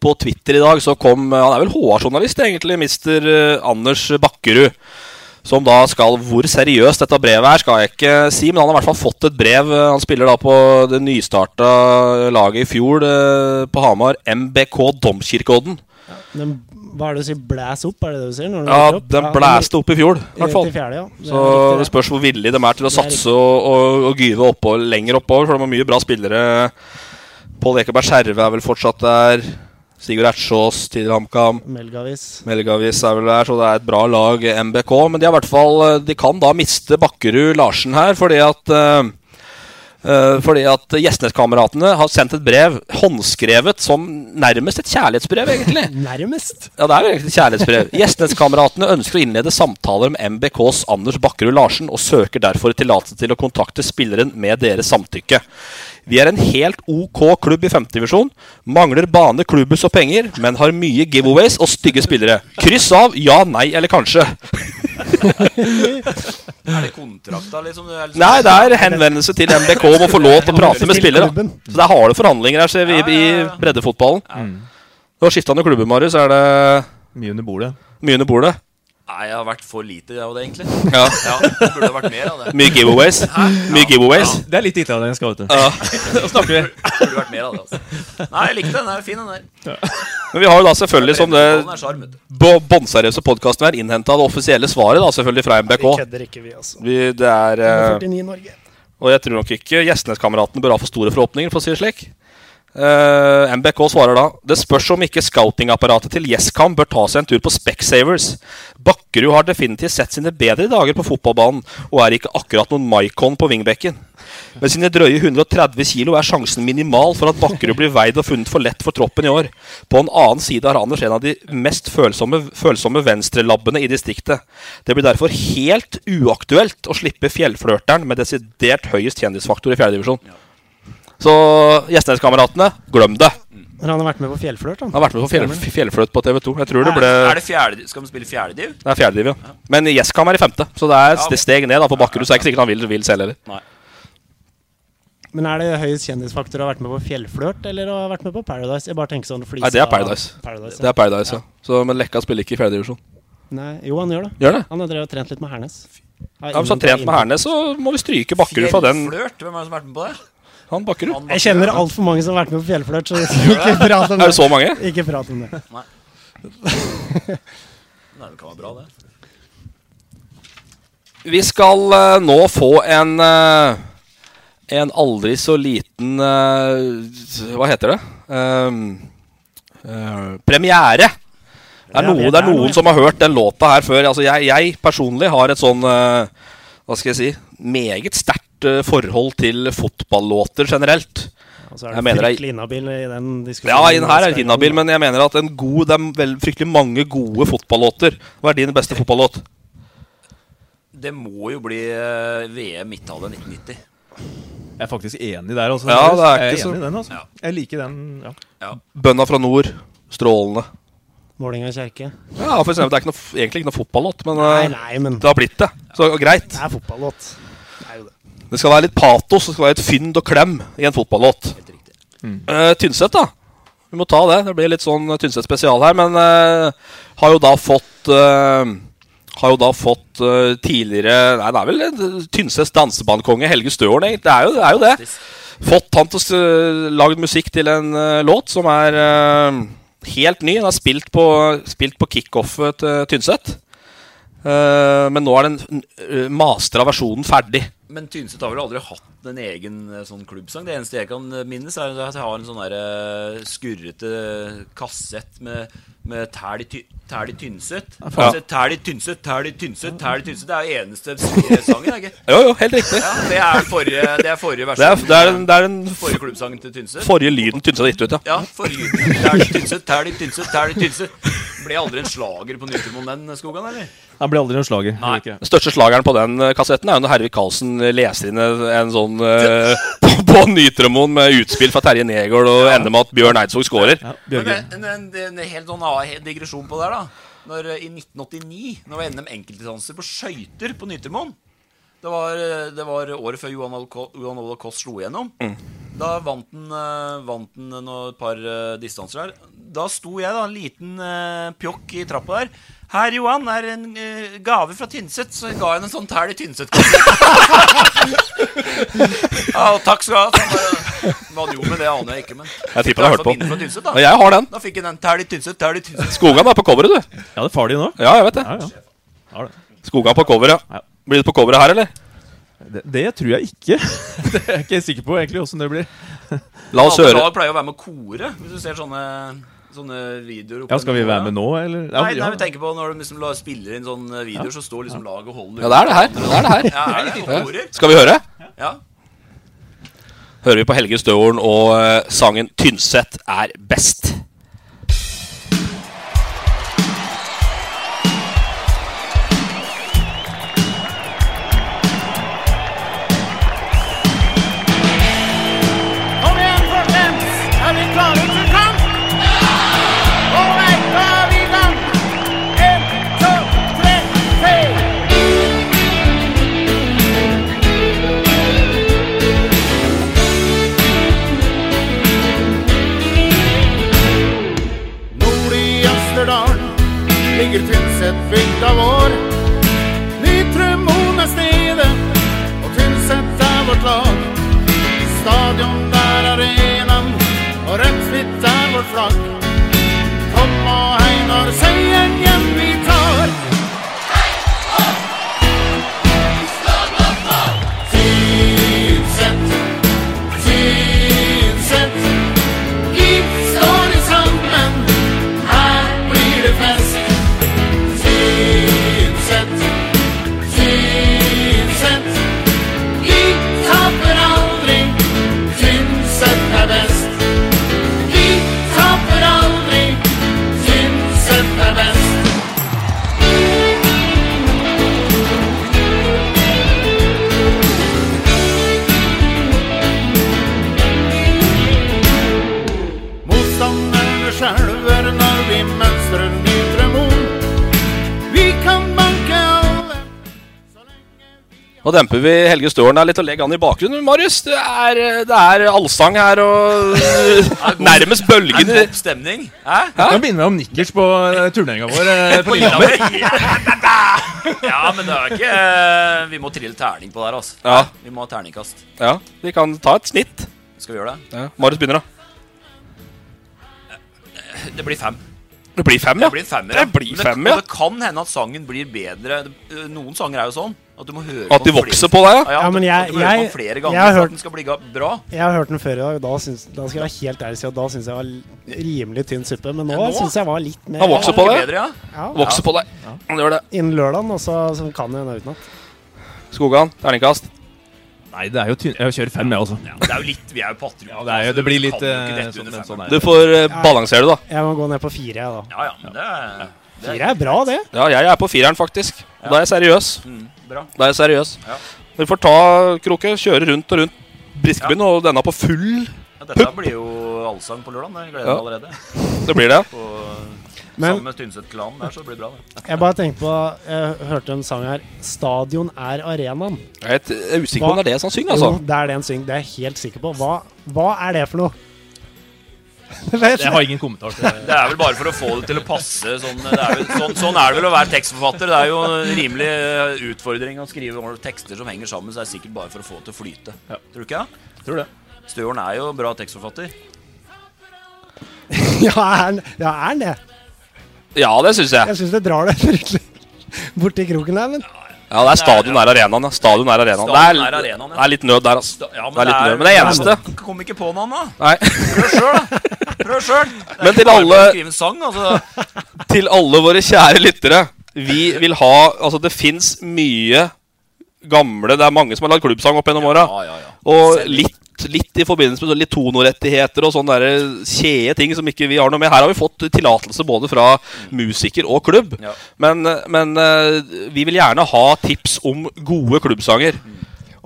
[SPEAKER 2] På Twitter i dag så kom eh, Han er vel HR-journalist, egentlig, mister eh, Anders Bakkerud. Som da skal Hvor seriøst dette brevet er, skal jeg ikke si, men han har i hvert fall fått et brev. Eh, Han spiller da på det nystarta laget i fjor eh, på Hamar, MBK Domkirkeodden.
[SPEAKER 3] Den, hva er det du sier? Blæs opp, er det det du sier? Når den rykker
[SPEAKER 2] Ja,
[SPEAKER 3] opp?
[SPEAKER 2] den blæste opp i fjor, i hvert fall.
[SPEAKER 3] Til fjerde, ja. Det er
[SPEAKER 2] Så
[SPEAKER 3] riktig,
[SPEAKER 2] det
[SPEAKER 3] det.
[SPEAKER 2] spørs hvor villige de er til å
[SPEAKER 3] Det er
[SPEAKER 2] satse og, og, og gyve oppover, lenger oppover, for de har mye bra spillere. Pål Ekeberg Skjerve er vel fortsatt der. Sigurd Ertsås, tidligere HamKam.
[SPEAKER 3] Melgavis.
[SPEAKER 2] Melgavis er vel der, så det er et bra lag, eh, MBK. Men de, er i hvert fall, eh, de kan da miste Bakkerud Larsen her, fordi at eh, eh, fordi at Gjestneskameratene har sendt et brev, håndskrevet, som nærmest et kjærlighetsbrev, egentlig.
[SPEAKER 3] Nærmest.
[SPEAKER 2] Ja, det er jo egentlig et kjærlighetsbrev. Gjestneskameratene ønsker å innlede samtaler med MBKs Anders Bakkerud Larsen, og søker derfor tillatelse til å kontakte spilleren med deres samtykke. Vi er en helt OK klubb i femtedivisjon. Mangler bane, klubbhus og penger, men har mye giveaways og stygge spillere. Kryss av ja, nei eller kanskje.
[SPEAKER 4] Er det kontrakta, liksom? Det er liksom-
[SPEAKER 2] Nei, det er henvendelse til MBK om å få lov til å prate med spillere. da. Så det er harde forhandlinger her, ser vi, i i breddefotballen. Du har skifta noen klubber, Marius. Er det
[SPEAKER 5] Mm. Mye under bordet.
[SPEAKER 2] Mye under bordet.
[SPEAKER 4] Nei, jeg har vært for lite av det, egentlig.
[SPEAKER 2] Ja.
[SPEAKER 4] det Burde vært mer av det.
[SPEAKER 2] Mye giveaways.
[SPEAKER 4] Hæ?
[SPEAKER 2] Mye giveaways.
[SPEAKER 5] Det er litt lite av det jeg skal, vet du.
[SPEAKER 2] Ja.
[SPEAKER 5] Nå snakker vi.
[SPEAKER 4] Burde vært mer av det, altså. Nei, jeg likte den. Den er fin, den der.
[SPEAKER 2] Men vi har jo da selvfølgelig som sånn det
[SPEAKER 4] Breddefotballen Sånn er sjarm, vet du.
[SPEAKER 2] bo- båndseriøse podkasten her innhenta det offisielle svaret da selvfølgelig fra MBK.
[SPEAKER 3] Vi kødder ikke, vi, altså.
[SPEAKER 2] Vi, det er eh,
[SPEAKER 3] 49 Norge.
[SPEAKER 2] Og jeg tror nok ikke Gjestneskameratene bør ha for store forhåpninger, for å si det slik. Eh, MBK svarer da Det spørs om ikke scoutingapparatet til YesCam bør ta seg en tur på Specsavers. Bakkerud har definitivt sett sine bedre dager på fotballbanen, og er ikke akkurat noen Maikon på vingbekken. Med sine drøye 130 kilo er sjansen minimal for at Bakkerud blir veid og funnet for lett for troppen i år. På en annen side har Anders en av de mest følsomme, følsomme venstrelabbene i distriktet. Det blir derfor helt uaktuelt å slippe fjellflørteren med desidert høyest kjendisfaktor i fjerdedivisjon. Så Gjestneskameratene, glem det.
[SPEAKER 3] Men han har vært med på Fjellflørt,
[SPEAKER 2] Han har vært med på fjell, fjellfløyt på TV2. Jeg tror det
[SPEAKER 4] Er-
[SPEAKER 2] ble
[SPEAKER 4] Er det fjerde, skal de spille fjerdediv?
[SPEAKER 2] Det er fjerdediv, ja. Men Gjesscam er i femte, så det er
[SPEAKER 4] Ja.
[SPEAKER 2] et steg ned da for Bakkerud. Så det er ikke sikkert han vil, vil selv heller.
[SPEAKER 3] Men er det høyest kjendisfaktor å ha vært med på Fjellflørt, eller å ha vært med på Paradise? Jeg bare tenker sånn flisa
[SPEAKER 2] Nei, det er Paradise.
[SPEAKER 3] Paradise,
[SPEAKER 2] Det er Paradise, ja. Så, men Lekka spiller ikke i fjerdedivisjon.
[SPEAKER 3] Nei, jo, han gjør det.
[SPEAKER 2] Gjør det?
[SPEAKER 3] Han har drevet og trent litt med Hernes. Har
[SPEAKER 2] Ja, hvis han
[SPEAKER 3] innhenta-
[SPEAKER 2] har trent med Hernes, så må vi stryke Bakkerud fra den.
[SPEAKER 4] Flørt? Hvem er det som har vært med på det?
[SPEAKER 2] Han Bakkerud.
[SPEAKER 3] Jeg kjenner altfor mange som har vært med på Fjellflørt, så ikke prat om det.
[SPEAKER 2] Er det så mange?
[SPEAKER 3] Ikke prat om det.
[SPEAKER 4] Nei. Nei, det kan være bra, det.
[SPEAKER 2] Vi skal eh, nå få en eh, En aldri så liten eh, Hva heter det? Ehm, eh, premiere! Det er,
[SPEAKER 3] Ja,
[SPEAKER 2] noe,
[SPEAKER 3] det
[SPEAKER 2] det er
[SPEAKER 3] er noe.
[SPEAKER 2] noen som har hørt den låta her før. Altså jeg, jeg personlig har et sånn eh, Hva skal jeg si meget sterkt eh, forhold til fotballåter generelt.
[SPEAKER 3] Og så er
[SPEAKER 2] Jeg
[SPEAKER 3] du
[SPEAKER 2] mener det-
[SPEAKER 3] fryktelig inhabil i den
[SPEAKER 2] Ja,
[SPEAKER 3] diskusjonen.
[SPEAKER 2] den her er inhabil, men jeg mener at en god, det er vel, fryktelig mange gode fotballåter. Hva er din beste fotballåt?
[SPEAKER 4] Det må jo bli eh, VM midttallet 1990.
[SPEAKER 5] Jeg er faktisk enig der, altså.
[SPEAKER 2] Ja, det er
[SPEAKER 5] jeg
[SPEAKER 2] ikke så-
[SPEAKER 5] enig i den, altså. Jeg liker den, ja.
[SPEAKER 2] Bønda fra nord. Strålende.
[SPEAKER 3] Målinga kjerke.
[SPEAKER 2] Ja, for eksempel, Det er ikke noe, f- egentlig ikke noe fotballåt, men,
[SPEAKER 3] Nei,
[SPEAKER 2] eh,
[SPEAKER 3] nei, men
[SPEAKER 2] det har blitt det. Så greit.
[SPEAKER 3] det er fotballåt. Det er jo det.
[SPEAKER 2] Det skal være litt patos, det skal være et fynd og klem i en fotballåt. Eh, Tynset, da. Vi må ta det. Det blir litt sånn Tynset spesial her. Men eh, har jo da fått eh, Har jo da fått eh, tidligere Nei, det er vel eh, Tynsets dansebandkonge Helge Støren, egentlig. Det er jo det. Er jo det. Fått han til å s- lagd musikk til en eh, låt som er eh, helt ny. Den har spilt på, spilt på kickoffet til Tynset. Eh, men nå er den eh, mastra versjonen ferdig.
[SPEAKER 4] Men Tynset har vel aldri hatt en egen eh, sånn klubbsang? Det eneste jeg kan eh, minnes, er at jeg har en sånn der, eh, skurrete kassett med, med tæl i Ty- tæl i Tynset.
[SPEAKER 2] Ja.
[SPEAKER 4] Altså, tæl i Tynset, tæl i Tynset, tæl i Tynset. Det er jo eneste sangen, er det ikke?
[SPEAKER 2] Jo, jo, helt riktig.
[SPEAKER 4] Ja, det er forrige, det er forrige
[SPEAKER 2] Det er,
[SPEAKER 4] versjon.
[SPEAKER 2] det er, den- det er den
[SPEAKER 4] Forrige klubbsangen til Tynset.
[SPEAKER 2] Forrige lyden Tynset har gitt ut, ja.
[SPEAKER 4] Ja, forrige lyden. Tæl i Tynset, tæl i Tynset, tæl i Tynset. Ble aldri en slager på Nytrum om den skogen, eller?
[SPEAKER 5] Han blir aldri noen slager.
[SPEAKER 4] Nei.
[SPEAKER 5] Ikke.
[SPEAKER 2] Den største slageren på den eh, kassetten er jo når Hervik Karlsen leser inn en en sånn eh, på, på Nytremoen med utspill fra Terje Negård og ender med at Bjørn Eidsvåg scorer.
[SPEAKER 4] Men det- en, en, en, en helt sånn annen helt digresjon på det der, da. Når, eh, I 1989, når det var NM enkeltdistanser på skøyter på Nyttermoen det var, eh, det var året før Johan Al- Ko- Johan Olav Koss slo igjennom.
[SPEAKER 2] Mm.
[SPEAKER 4] Da vant han, eh, vant han noe- et par eh, distanser der. Da sto jeg, da, en liten eh, pjokk i trappa der. Her, Johan, er en eh, gave fra Tynset. Så ga jeg ham en sånn tæl i Tynset-kassen. ja, og takk skal du ha. Så bare- Hva han gjorde med det, aner jeg ikke, men
[SPEAKER 2] Jeg tipper han har hørt
[SPEAKER 4] Det er i hvert fall
[SPEAKER 2] på.
[SPEAKER 4] minnet fra Tynset, da.
[SPEAKER 2] Og jeg har den.
[SPEAKER 4] Da fikk jeg den. Tæl i Tynset, tæl i Tynset.
[SPEAKER 2] Skogan er på coveret, du.
[SPEAKER 5] Ja, det er far di nå.
[SPEAKER 2] Ja, jeg vet det.
[SPEAKER 5] Ja, ja. Ja, det.
[SPEAKER 2] Skogan på coveret. Blir du på coveret her, eller?
[SPEAKER 5] Det, det tror jeg ikke. det er jeg ikke sikker på egentlig åssen det blir.
[SPEAKER 2] La oss
[SPEAKER 4] Alle
[SPEAKER 2] høre.
[SPEAKER 4] lag pleier å være med å kore, hvis du ser sånne, sånne videoer. oppe
[SPEAKER 5] Ja, skal vi
[SPEAKER 4] nå,
[SPEAKER 5] være med nå, eller?
[SPEAKER 4] nei,
[SPEAKER 5] Ja,
[SPEAKER 4] nei,
[SPEAKER 5] ja.
[SPEAKER 4] vi tenker på når de liksom la- spiller inn sånne videoer, så står liksom laget og holder
[SPEAKER 2] Ja, det er det her. Det er det her.
[SPEAKER 4] Ja, er det litt
[SPEAKER 2] Ja.
[SPEAKER 4] korer?
[SPEAKER 2] Skal vi høre?
[SPEAKER 4] Ja.
[SPEAKER 2] Hører vi på Helge Støvoren og eh, sangen 'Tynset er best'.
[SPEAKER 6] Kom igjen, folkens! Er vi klare til kamp? All right, da er vi i gang! En, to, tre, fire! Nord i Østerdal ligger Tynset bygda vår. Nytremoen er stedet, og Tynset er vårt lag. Stadion der arenaen, og rødt hvitt er vårt flagg. Kom og hei når seieren hjem vi tar. Tynset, Tynset. Vi står sammen, her blir det fest. Tynset, Tynset. Vi taper aldri, Tynset er best. Vi taper aldri, Tynset er best. Motstanderne skjelver når vi mønstrer Nytre Mo. Vi kan banke alle
[SPEAKER 2] Nå demper vi Helge Støren her litt og legger han i bakgrunnen. Marius, det er, det er allsang her og nærmest
[SPEAKER 4] Er det
[SPEAKER 2] bølgende
[SPEAKER 4] topp stemning? Hæ?
[SPEAKER 5] Nå begynner vi om nikkers på eh, turneringa vår eh, på
[SPEAKER 4] På
[SPEAKER 5] Lillehammer.
[SPEAKER 4] Lillehammer? Ja, men det er ikke eh, Vi må trille terning på det her, altså.
[SPEAKER 2] Ja.
[SPEAKER 4] Vi må ha terningkast.
[SPEAKER 2] Ja, vi kan ta et snitt.
[SPEAKER 4] Skal vi gjøre det?
[SPEAKER 2] Ja. Marius begynner, da.
[SPEAKER 4] Det blir fem.
[SPEAKER 2] Det blir fem, ja.
[SPEAKER 4] Det blir en femmer,
[SPEAKER 2] Det blir
[SPEAKER 4] Men
[SPEAKER 2] fem, ja.
[SPEAKER 4] Og det kan hende at sangen blir bedre. Det- Noen sanger er jo sånn. At du må høre
[SPEAKER 2] At de
[SPEAKER 4] den
[SPEAKER 2] vokser
[SPEAKER 4] flere-
[SPEAKER 2] på deg, ja.
[SPEAKER 4] ja
[SPEAKER 3] Ja, men
[SPEAKER 4] at du-
[SPEAKER 3] jeg-
[SPEAKER 4] at du hører på den
[SPEAKER 3] jeg-
[SPEAKER 4] flere ganger
[SPEAKER 3] jeg har
[SPEAKER 4] for
[SPEAKER 3] hørt-
[SPEAKER 4] at den skal bli ga- bra.
[SPEAKER 3] Jeg har hørt den før i dag. Da, syns, da skal jeg være helt ærlig og si at da syns jeg var l- rimelig tynn suppe. Men nå,
[SPEAKER 4] Ja, nå?
[SPEAKER 3] synes syns jeg var litt mer
[SPEAKER 2] Han vokser på deg.
[SPEAKER 4] Bedre, ja.
[SPEAKER 2] Vokser på deg. Han gjør det.
[SPEAKER 3] Innen lørdagen, og så, så kan jeg den utenat.
[SPEAKER 2] Skogan, terningkast.
[SPEAKER 5] Nei, det er jo tynn... Jeg kjører fem, jeg også.
[SPEAKER 4] Det er jo litt Vi er jo patrulje.
[SPEAKER 5] Ja, det, er jo, det blir litt
[SPEAKER 4] Kan jo ikke
[SPEAKER 5] eh,
[SPEAKER 4] dette
[SPEAKER 5] sånn,
[SPEAKER 4] under
[SPEAKER 5] men sånn er
[SPEAKER 2] Du
[SPEAKER 5] det.
[SPEAKER 2] får eh, balansere, du, da.
[SPEAKER 3] Jeg må gå ned på fire, jeg, da.
[SPEAKER 4] Ja, ja, men det er, det
[SPEAKER 3] Fire er bra, det.
[SPEAKER 2] Ja, jeg er på fireren, faktisk. Og Da er jeg seriøs.
[SPEAKER 4] mm, bra.
[SPEAKER 2] Da er jeg seriøs.
[SPEAKER 4] Ja.
[SPEAKER 2] Du får ta kroke, kjøre rundt og rundt Briskebyen, og denne på full.
[SPEAKER 4] Ja, dette blir jo allsang på lørdag. Jeg gleder meg
[SPEAKER 2] Ja.
[SPEAKER 4] allerede.
[SPEAKER 2] Det blir det.
[SPEAKER 4] På
[SPEAKER 3] Men-
[SPEAKER 4] samme Tynset-klan der, så blir det bra. Det.
[SPEAKER 3] Jeg bare tenkte på Jeg hørte en sang her. 'Stadion er arenaen'.
[SPEAKER 2] Jeg er et- jeg er usikker på om det er det som synger, altså.
[SPEAKER 3] Jo, det er det en syng. Det er jeg helt sikker på. Hva, hva er det for noe? Vet-
[SPEAKER 5] Jeg har ingen kommentar til det.
[SPEAKER 4] det er vel bare for å få det til å passe. Sånn, det er vel, sånn, sånn er det vel å være tekstforfatter. Det er jo en rimelig eh, utfordring å skrive over tekster som henger sammen, så det er sikkert bare for å få det til å flyte.
[SPEAKER 5] Ja.
[SPEAKER 4] Tror du ikke det?
[SPEAKER 5] Tror det.
[SPEAKER 4] Støren er jo bra tekstforfatter.
[SPEAKER 3] Ja, er han ja, er han det?
[SPEAKER 2] Ja, det syns jeg.
[SPEAKER 3] Jeg syns det drar det fryktelig bort i kroken der, men
[SPEAKER 2] Ja, det er stadion nær arenaen. ja. Stadion nær arenaen. Det er,
[SPEAKER 4] Stadion nær arenaen, ja.
[SPEAKER 2] det er litt nød der, altså.
[SPEAKER 4] Ja,
[SPEAKER 2] det er litt nød, men det er eneste.
[SPEAKER 4] Kom ikke på noe annet.
[SPEAKER 2] Nei.
[SPEAKER 4] Prøv sjøl, da. Prøv sjøl. Det er
[SPEAKER 2] Men
[SPEAKER 4] ikke
[SPEAKER 2] til
[SPEAKER 4] bare
[SPEAKER 2] alle,
[SPEAKER 4] å Skrive en sang, altså.
[SPEAKER 2] til alle våre kjære lyttere Vi vil ha Altså, det fins mye gamle Det er mange som har lagd klubbsang opp gjennom åra. Og litt, litt i forbindelse med sånn litt tonorettigheter og sånne der kjede ting som ikke vi har noe med. Her har vi fått tillatelse både fra musiker og klubb.
[SPEAKER 4] Ja.
[SPEAKER 2] Men, men eh, vi vil gjerne ha tips om gode klubbsanger.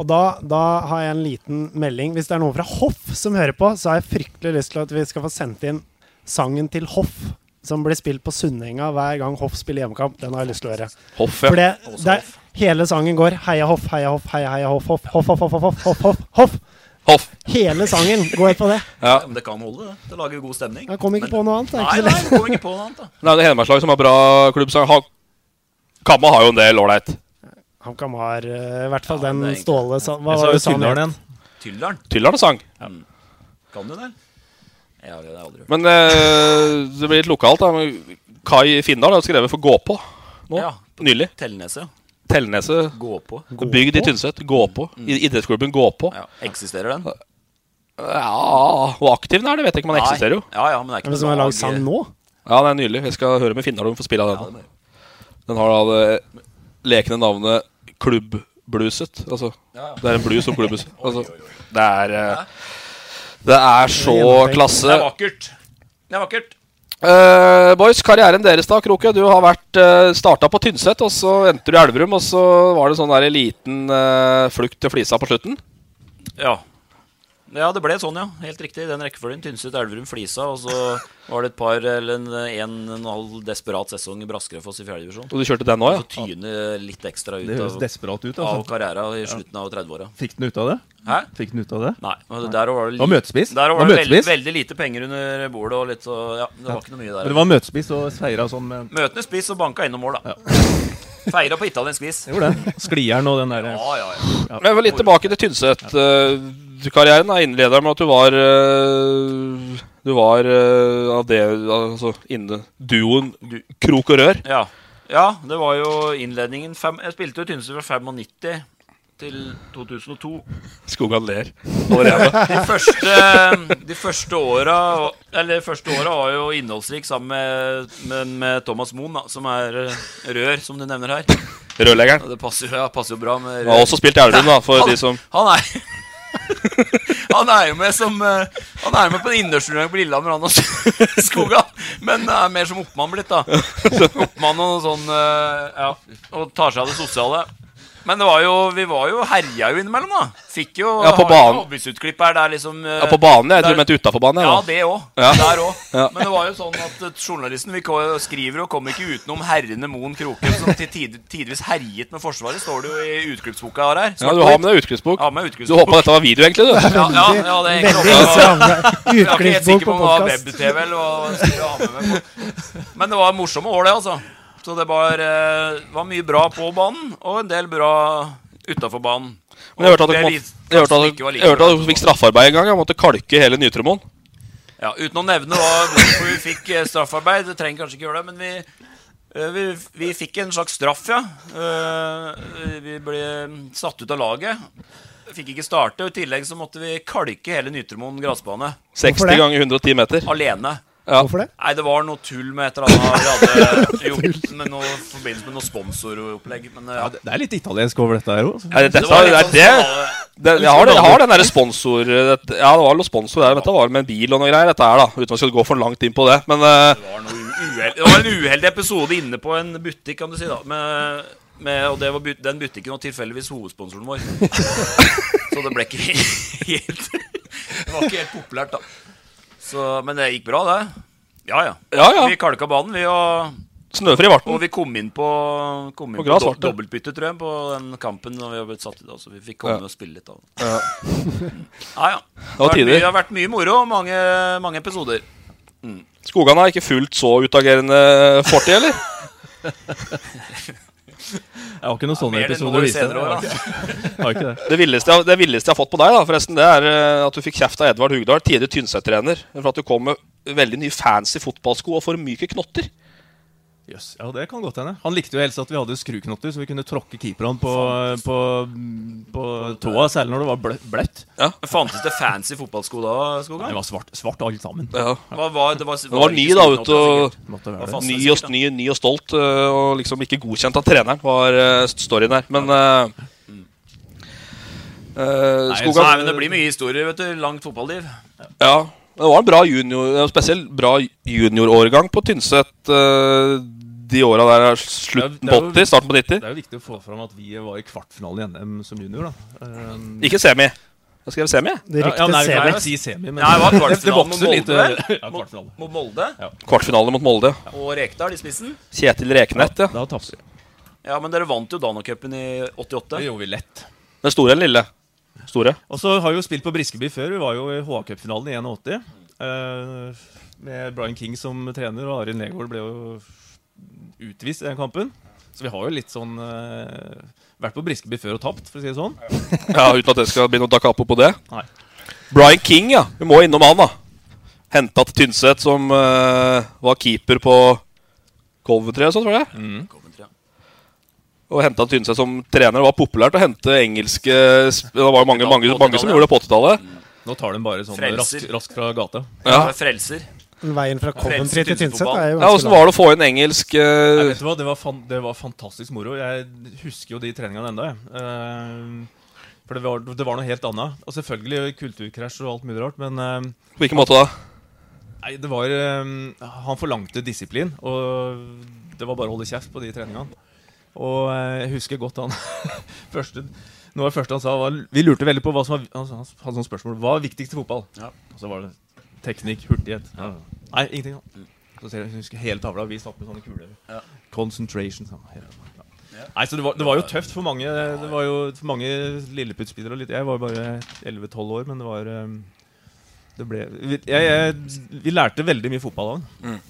[SPEAKER 3] Og da, da har jeg en liten melding. Hvis det er noen fra Hoff som hører på, så har jeg fryktelig lyst til at vi skal få sendt inn sangen til Hoff. Som blir spilt på Sunnenga hver gang Hoff spiller hjemmekamp. Den har jeg lyst til å høre.
[SPEAKER 2] Hoff, ja.
[SPEAKER 3] For det, det er, hele sangen går Heia Hoff, heia Hoff, heia heia Hoff, Hoff, Hoff, Hoff, Hoff, Hoff, Hoff, Hoff, Hoff.
[SPEAKER 2] Hoff.
[SPEAKER 3] Hele sangen går på det.
[SPEAKER 2] Ja.
[SPEAKER 4] Men det kan holde, det. Det lager jo god stemning.
[SPEAKER 3] Jeg kom ikke på noe annet. Det er
[SPEAKER 4] Nei,
[SPEAKER 3] ikke så
[SPEAKER 4] nei,
[SPEAKER 3] lett.
[SPEAKER 4] kom ikke på noe annet, da.
[SPEAKER 2] Nei, det er Hedmarkslag som har bra klubbsang. Ha, Kamma har jo en del ålreit.
[SPEAKER 3] HamKam har eh, i hvert fall den
[SPEAKER 2] det er egentlig-
[SPEAKER 3] Ståle sa. Hva
[SPEAKER 2] Jeg sa
[SPEAKER 3] var
[SPEAKER 2] jo
[SPEAKER 3] det sa han
[SPEAKER 2] Tyldalen
[SPEAKER 3] het?
[SPEAKER 2] igjen. Tyldalen sang.
[SPEAKER 4] Kan du det? Jeg har det aldri.
[SPEAKER 2] Men eh, det blir litt lokalt. da Men Kai Findal har skrevet for Gå på nå.
[SPEAKER 4] Ja.
[SPEAKER 2] Nylig.
[SPEAKER 4] Tellneset.
[SPEAKER 2] Tellneset.
[SPEAKER 4] Gå på.
[SPEAKER 2] Bygd i Tynset. Gå på. I idrettsklubben Gå på.
[SPEAKER 4] Ja. Eksisterer den?
[SPEAKER 2] Ja Hvor aktiv den er, det vet jeg ikke. men Den
[SPEAKER 4] Nei.
[SPEAKER 2] eksisterer jo.
[SPEAKER 4] Ja, ja, men det er ikke
[SPEAKER 3] Hvem som har lagd sang nå?
[SPEAKER 2] Ja, den er nylig. Jeg skal høre med Findal om vi får spille av den. Den har da det lekende navnet Klubbblueset. Altså,
[SPEAKER 4] Ja, ja.
[SPEAKER 2] det er en blues om klubbhuset. Altså, det er eh, Det er så klasse.
[SPEAKER 4] Det er vakkert. Det er vakkert.
[SPEAKER 2] Eh, boys, karrieren deres da, Kroke. Du har vært uh, starta på Tynset, og så endte du i Elverum. Og så var det sånn der liten eh, flukt til Flisa på slutten.
[SPEAKER 4] Ja. Ja, det ble sånn, ja. Helt riktig. Den rekkefølgen. Tynset, Elverum, Flisa. Og så var det et par eller en, en, og en halv desperat sesong i Braskerøfoss i fjerdedivisjon.
[SPEAKER 2] Og du kjørte den også, ja?
[SPEAKER 4] Så tyne litt ekstra ut
[SPEAKER 5] Det høres
[SPEAKER 4] av,
[SPEAKER 5] desperat ut, altså.
[SPEAKER 4] av karriera i
[SPEAKER 5] Ja.
[SPEAKER 4] slutten av 30-åra.
[SPEAKER 5] Fikk den ut av det?
[SPEAKER 4] Hæ?
[SPEAKER 5] Fikk den ut av det?
[SPEAKER 4] Nei. Men det- der var det,
[SPEAKER 5] Det var møtespiss.
[SPEAKER 4] Der
[SPEAKER 5] Det var
[SPEAKER 4] var det veldig,
[SPEAKER 5] møtespiss.
[SPEAKER 4] veldig lite penger under bordet og litt så Ja, det var ikke noe mye der.
[SPEAKER 5] Men det var møtespiss og feira sånn med
[SPEAKER 4] Møtende spiss og banka innom mål, da. Feira på italiensk vis.
[SPEAKER 5] Gjorde det. Sklieren og den derre
[SPEAKER 4] Ja, ja, ja.
[SPEAKER 2] Men jeg var litt tilbake til Tynset-karrieren. Uh, innleder med at du var eh, Du var eh, av det Altså inne duoen Krok og Rør.
[SPEAKER 4] Ja. ja, det var jo innledningen. Fem, jeg spilte jo Tynset fra 95 til 2002.
[SPEAKER 2] Skogan ler
[SPEAKER 4] De
[SPEAKER 2] allerede.
[SPEAKER 4] første, de første åra Eller de første åra var jo innholdsrik sammen med, med, med Thomas Moen, da, som er eh, rør, som du nevner her.
[SPEAKER 2] Rørleggeren.
[SPEAKER 4] Og Det passer, jo- ja, passer jo bra med
[SPEAKER 2] Han har også spilt i Elverum, da, for
[SPEAKER 4] Han-
[SPEAKER 2] de som-
[SPEAKER 4] Han er Han er jo med som eh, Han er jo med på en innendørsturnering på Lillehammer, han og Skogan. Men er mer som oppmann blitt, da. Oppmann og sånn eh, Ja. Og tar seg av det sosiale. Men det var jo, vi var jo herja jo innimellom, da. Fikk jo
[SPEAKER 2] Ja, på
[SPEAKER 4] har-
[SPEAKER 2] banen.
[SPEAKER 4] Hobbysuttklipp er der liksom eh,
[SPEAKER 2] Ja, på banen, jeg. Jeg
[SPEAKER 4] der-
[SPEAKER 2] tror du mente utafor banen. jeg,
[SPEAKER 4] Ja,
[SPEAKER 2] da.
[SPEAKER 4] det òg.
[SPEAKER 2] Ja.
[SPEAKER 4] Der òg.
[SPEAKER 2] Ja.
[SPEAKER 4] Men det var jo sånn at eh, journalisten vi ko- skriver og kommer ikke utenom herrene Moen Kroken, som til tid- tidvis herjet med Forsvaret, står det jo i utklippsboka jeg har her.
[SPEAKER 2] Ja, du har med deg utklippsbok.
[SPEAKER 4] Ja, med
[SPEAKER 2] Du håpa dette var video, egentlig, du.
[SPEAKER 4] ja, ja, ja, det er egentlig
[SPEAKER 3] Veldig
[SPEAKER 4] også-
[SPEAKER 3] samlet.
[SPEAKER 4] Jeg er ikke helt
[SPEAKER 3] Utklippsbok
[SPEAKER 4] sikker på
[SPEAKER 3] på
[SPEAKER 4] om det var
[SPEAKER 3] podcast.
[SPEAKER 4] web-TV eller hva hva jeg skulle ha med meg på. Men det var morsomme år, det, altså. Så det var, eh, var mye bra på banen, og en del bra utafor banen.
[SPEAKER 2] Men jeg hørte at
[SPEAKER 4] Og
[SPEAKER 2] dere
[SPEAKER 4] det
[SPEAKER 2] måtte-
[SPEAKER 4] vis-
[SPEAKER 2] jeg hørte
[SPEAKER 4] kanskje
[SPEAKER 2] at
[SPEAKER 4] ikke var
[SPEAKER 2] dere-
[SPEAKER 4] like
[SPEAKER 2] jeg hørte
[SPEAKER 4] bra.
[SPEAKER 2] at dere fikk straffarbeid en gang. Jeg måtte kalke hele Nytremoen.
[SPEAKER 4] Ja, Uten å nevne hva- hvorfor vi fikk eh, straffarbeid, det trenger kanskje ikke gjøre det, men vi eh, vi, vi fikk en slags straff, ja. Eh, Vi ble satt ut av laget. Fikk ikke starte. og I tillegg så måtte vi kalke hele Nytremoen gressbane.
[SPEAKER 2] 60 ganger 110 meter.
[SPEAKER 4] Alene.
[SPEAKER 2] Ja.
[SPEAKER 3] Hvorfor det?
[SPEAKER 4] Nei, det var noe tull med et eller annet vi hadde gjort med noe i forbindelse med noe sponsoropplegg. Men ja,
[SPEAKER 5] Det er litt italiensk over dette her òg.
[SPEAKER 2] Ja, det, dette,
[SPEAKER 4] var
[SPEAKER 2] det,
[SPEAKER 4] litt
[SPEAKER 2] det,
[SPEAKER 4] sånn
[SPEAKER 2] det, jeg, har, jeg har den derre sponsor... det- Ja, det var noe sponsor der. Dette var med en bil og noe greier, dette her, da. Uten at vi skal gå for langt inn på det. Men eh,
[SPEAKER 4] var noe uhell- det var en uheldig episode inne på en butikk, kan du si, da. Med, med, og det var but den butikken var tilfeldigvis hovedsponsoren vår. Så det ble ikke helt Det var ikke helt populært, da. Så, men det gikk bra, det. Ja, ja.
[SPEAKER 2] Ja, ja.
[SPEAKER 4] Vi kalka banen, vi. Og,
[SPEAKER 2] Snøfri ble den.
[SPEAKER 4] og vi kom inn på, kom inn
[SPEAKER 2] Og
[SPEAKER 4] på,
[SPEAKER 2] gras
[SPEAKER 4] do
[SPEAKER 2] ble det.
[SPEAKER 4] dobbeltbytte, tror jeg, på den kampen når vi har blitt satt ut. da, Så vi
[SPEAKER 2] Ja.
[SPEAKER 4] fikk komme og spille litt. da
[SPEAKER 2] ja.
[SPEAKER 4] Ja, ja.
[SPEAKER 2] Det var
[SPEAKER 4] har vært
[SPEAKER 2] tider.
[SPEAKER 4] mye- Det har vært mye moro og mange, mange episoder.
[SPEAKER 2] Skogan har ikke fullt så utagerende fortid, eller?
[SPEAKER 5] Jeg har ikke noen sånne
[SPEAKER 2] mer enn
[SPEAKER 5] episoder
[SPEAKER 2] noen
[SPEAKER 5] å vise.
[SPEAKER 2] senere år,
[SPEAKER 5] Jeg har ikke- jeg har ikke det.
[SPEAKER 2] Det villeste, jeg- det villeste jeg har fått på deg, da, forresten, det er eh, at du fikk kjeft av Edvard Hugdal, tidligere Tynset-trener, for at du kom med veldig nye fancy fotballsko og for myke knotter.
[SPEAKER 5] Jøss, ja, det kan godt hende. Han likte jo helst at vi hadde skruknotter, så vi kunne tråkke keeperne på, på, på tåa, særlig når det var blø- bløtt.
[SPEAKER 4] Fantes det fancy fotballsko da, Skogan?
[SPEAKER 5] Det var svart, svart alle sammen.
[SPEAKER 4] Hva var, det var,
[SPEAKER 2] Han var ny, da, vet du.
[SPEAKER 5] Måtte være
[SPEAKER 2] og-
[SPEAKER 5] det.
[SPEAKER 2] Ny og, ny, ny og stolt, eh, og liksom ikke godkjent av treneren, var eh, storyen her. Men eh, eh,
[SPEAKER 4] Mm. Nei,
[SPEAKER 2] Skogan-
[SPEAKER 4] men det blir mye historier, vet du. Langt fotballiv.
[SPEAKER 2] Ja, men det var en bra junior, en spesiell bra juniorårgang på Tynset eh, de åra der. eh, Slutten
[SPEAKER 5] Det
[SPEAKER 2] på
[SPEAKER 5] er jo-
[SPEAKER 2] 80, starten på 90.
[SPEAKER 5] Det er jo viktig å få fram at vi var i kvartfinalen i NM som junior, da. Um,
[SPEAKER 2] Ikke semi. Jeg skrev semi. jeg.
[SPEAKER 5] Det riktige Ja, ja, nei, vi kan semi. jo si semi, men-
[SPEAKER 4] Nei, det var
[SPEAKER 5] Det- det
[SPEAKER 4] kvartfinalen mot
[SPEAKER 5] vokser litt,
[SPEAKER 4] Molde.
[SPEAKER 5] eh,
[SPEAKER 4] vel?
[SPEAKER 5] ja,
[SPEAKER 4] Mot-
[SPEAKER 5] kvartfinalen.
[SPEAKER 4] Mot Molde.
[SPEAKER 2] Kvartfinale mot Molde.
[SPEAKER 4] Og Rekdal i spissen.
[SPEAKER 2] Kjetil Reknett, ja.
[SPEAKER 5] Da tapte vi.
[SPEAKER 4] Ja, men dere vant jo Dano-cupen i 88.
[SPEAKER 5] Det gjorde vi lett.
[SPEAKER 2] Den store eller lille? Store.
[SPEAKER 5] Og så har vi jo spilt på Briskeby før. Vi var jo i HA-cupfinalen i 81. eh, med Brian King som trener, og Arild Negård ble jo utvist i den kampen. Så vi har jo litt sånn eh, Vært på Briskeby før og tapt, for å si det sånn.
[SPEAKER 2] Ja, Uten at det skal bli noe dakapo på det.
[SPEAKER 5] Nei.
[SPEAKER 2] Brian King, ja. Vi må innom han, da. Henta til Tynset, som eh, var keeper på Coventry og sånt, var det? Og henta til Tynset som trener. Det var populært å hente engelske sp- Det var jo mange, mange, mange som gjorde det på Mm. 80-tallet.
[SPEAKER 5] Nå tar de bare sånn
[SPEAKER 4] Frelser.
[SPEAKER 5] raskt rask fra gata.
[SPEAKER 2] Ja.
[SPEAKER 4] Frelser.
[SPEAKER 3] Veien fra Coventry til
[SPEAKER 5] Frelser
[SPEAKER 3] Tynset er jo
[SPEAKER 2] Ja, Åssen var det å få inn engelsk eh,
[SPEAKER 5] Nei, vet du hva? Det var, fan, det var fantastisk moro. Jeg husker jo de treningene ennå. jeg. Eh, for det var, det var noe helt annet. Og selvfølgelig kulturkrasj og alt mulig rart, men eh,
[SPEAKER 2] På hvilken måte da?
[SPEAKER 5] Nei, det var eh, Han forlangte disiplin, og det var bare å holde kjeft på de treningene. Og eh, jeg husker godt han første, Noe av det første han sa, var Vi lurte veldig på hva som var Han sa- han hadde sånne spørsmål. Hva er viktigst i fotball? Og så var det teknikk, hurtighet. Nei, ingenting. annet. Så ser jeg, jeg husker hele tavla. Vi satt med sånne kuler. Concentration. Sånn. hele- ja. Nei, så det var, det var jo tøft for mange. Det var jo for mange Lilleputt-spillere. og litt- Jeg var jo bare 11-12 år, men det var um, det ble, vi, jeg, jeg, vi lærte veldig mye fotball av den.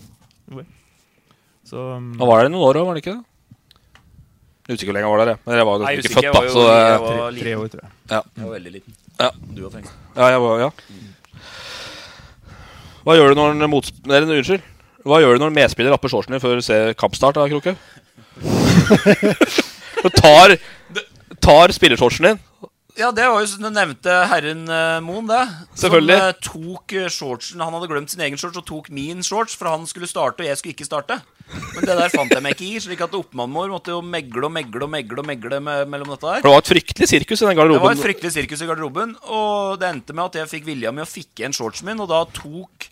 [SPEAKER 5] Mm. Så um,
[SPEAKER 2] Han var der i noen år òg, var han ikke det? Jeg er Usikker hvor lenge han var der, jeg. Men jeg var jo
[SPEAKER 4] Nei,
[SPEAKER 2] nesten ikke
[SPEAKER 4] usikker.
[SPEAKER 2] født, da.
[SPEAKER 4] Jeg
[SPEAKER 2] Så,
[SPEAKER 4] var jo-
[SPEAKER 2] eh,
[SPEAKER 4] jeg var Tre- tre liten. år, tror jeg.
[SPEAKER 2] Ja.
[SPEAKER 4] Jeg var veldig liten.
[SPEAKER 2] Ja.
[SPEAKER 4] Du var tenkt.
[SPEAKER 2] Ja, jeg var, ja. Hva gjør du når en mots... Nei, unnskyld. Hva gjør du når en medspiller rapper shortsen din før du ser kampstart, da, Kroke? du tar, tar spillershortsen din.
[SPEAKER 4] Ja, det var jo som du nevnte herren eh, Moen, det.
[SPEAKER 2] Selvfølgelig.
[SPEAKER 4] Som eh, tok eh, shortsen Han hadde glemt sin egen shorts og tok min shorts, for han skulle starte, og jeg skulle ikke starte. Men det der fant jeg meg ikke i, slik at oppmannen vår måtte jo megle og megle og megle og megle me mellom dette her.
[SPEAKER 2] For det var et fryktelig sirkus i den garderoben.
[SPEAKER 4] Det var et fryktelig sirkus i garderoben, og det endte med at jeg fikk vilja mi å fikke igjen shortsen min, og da tok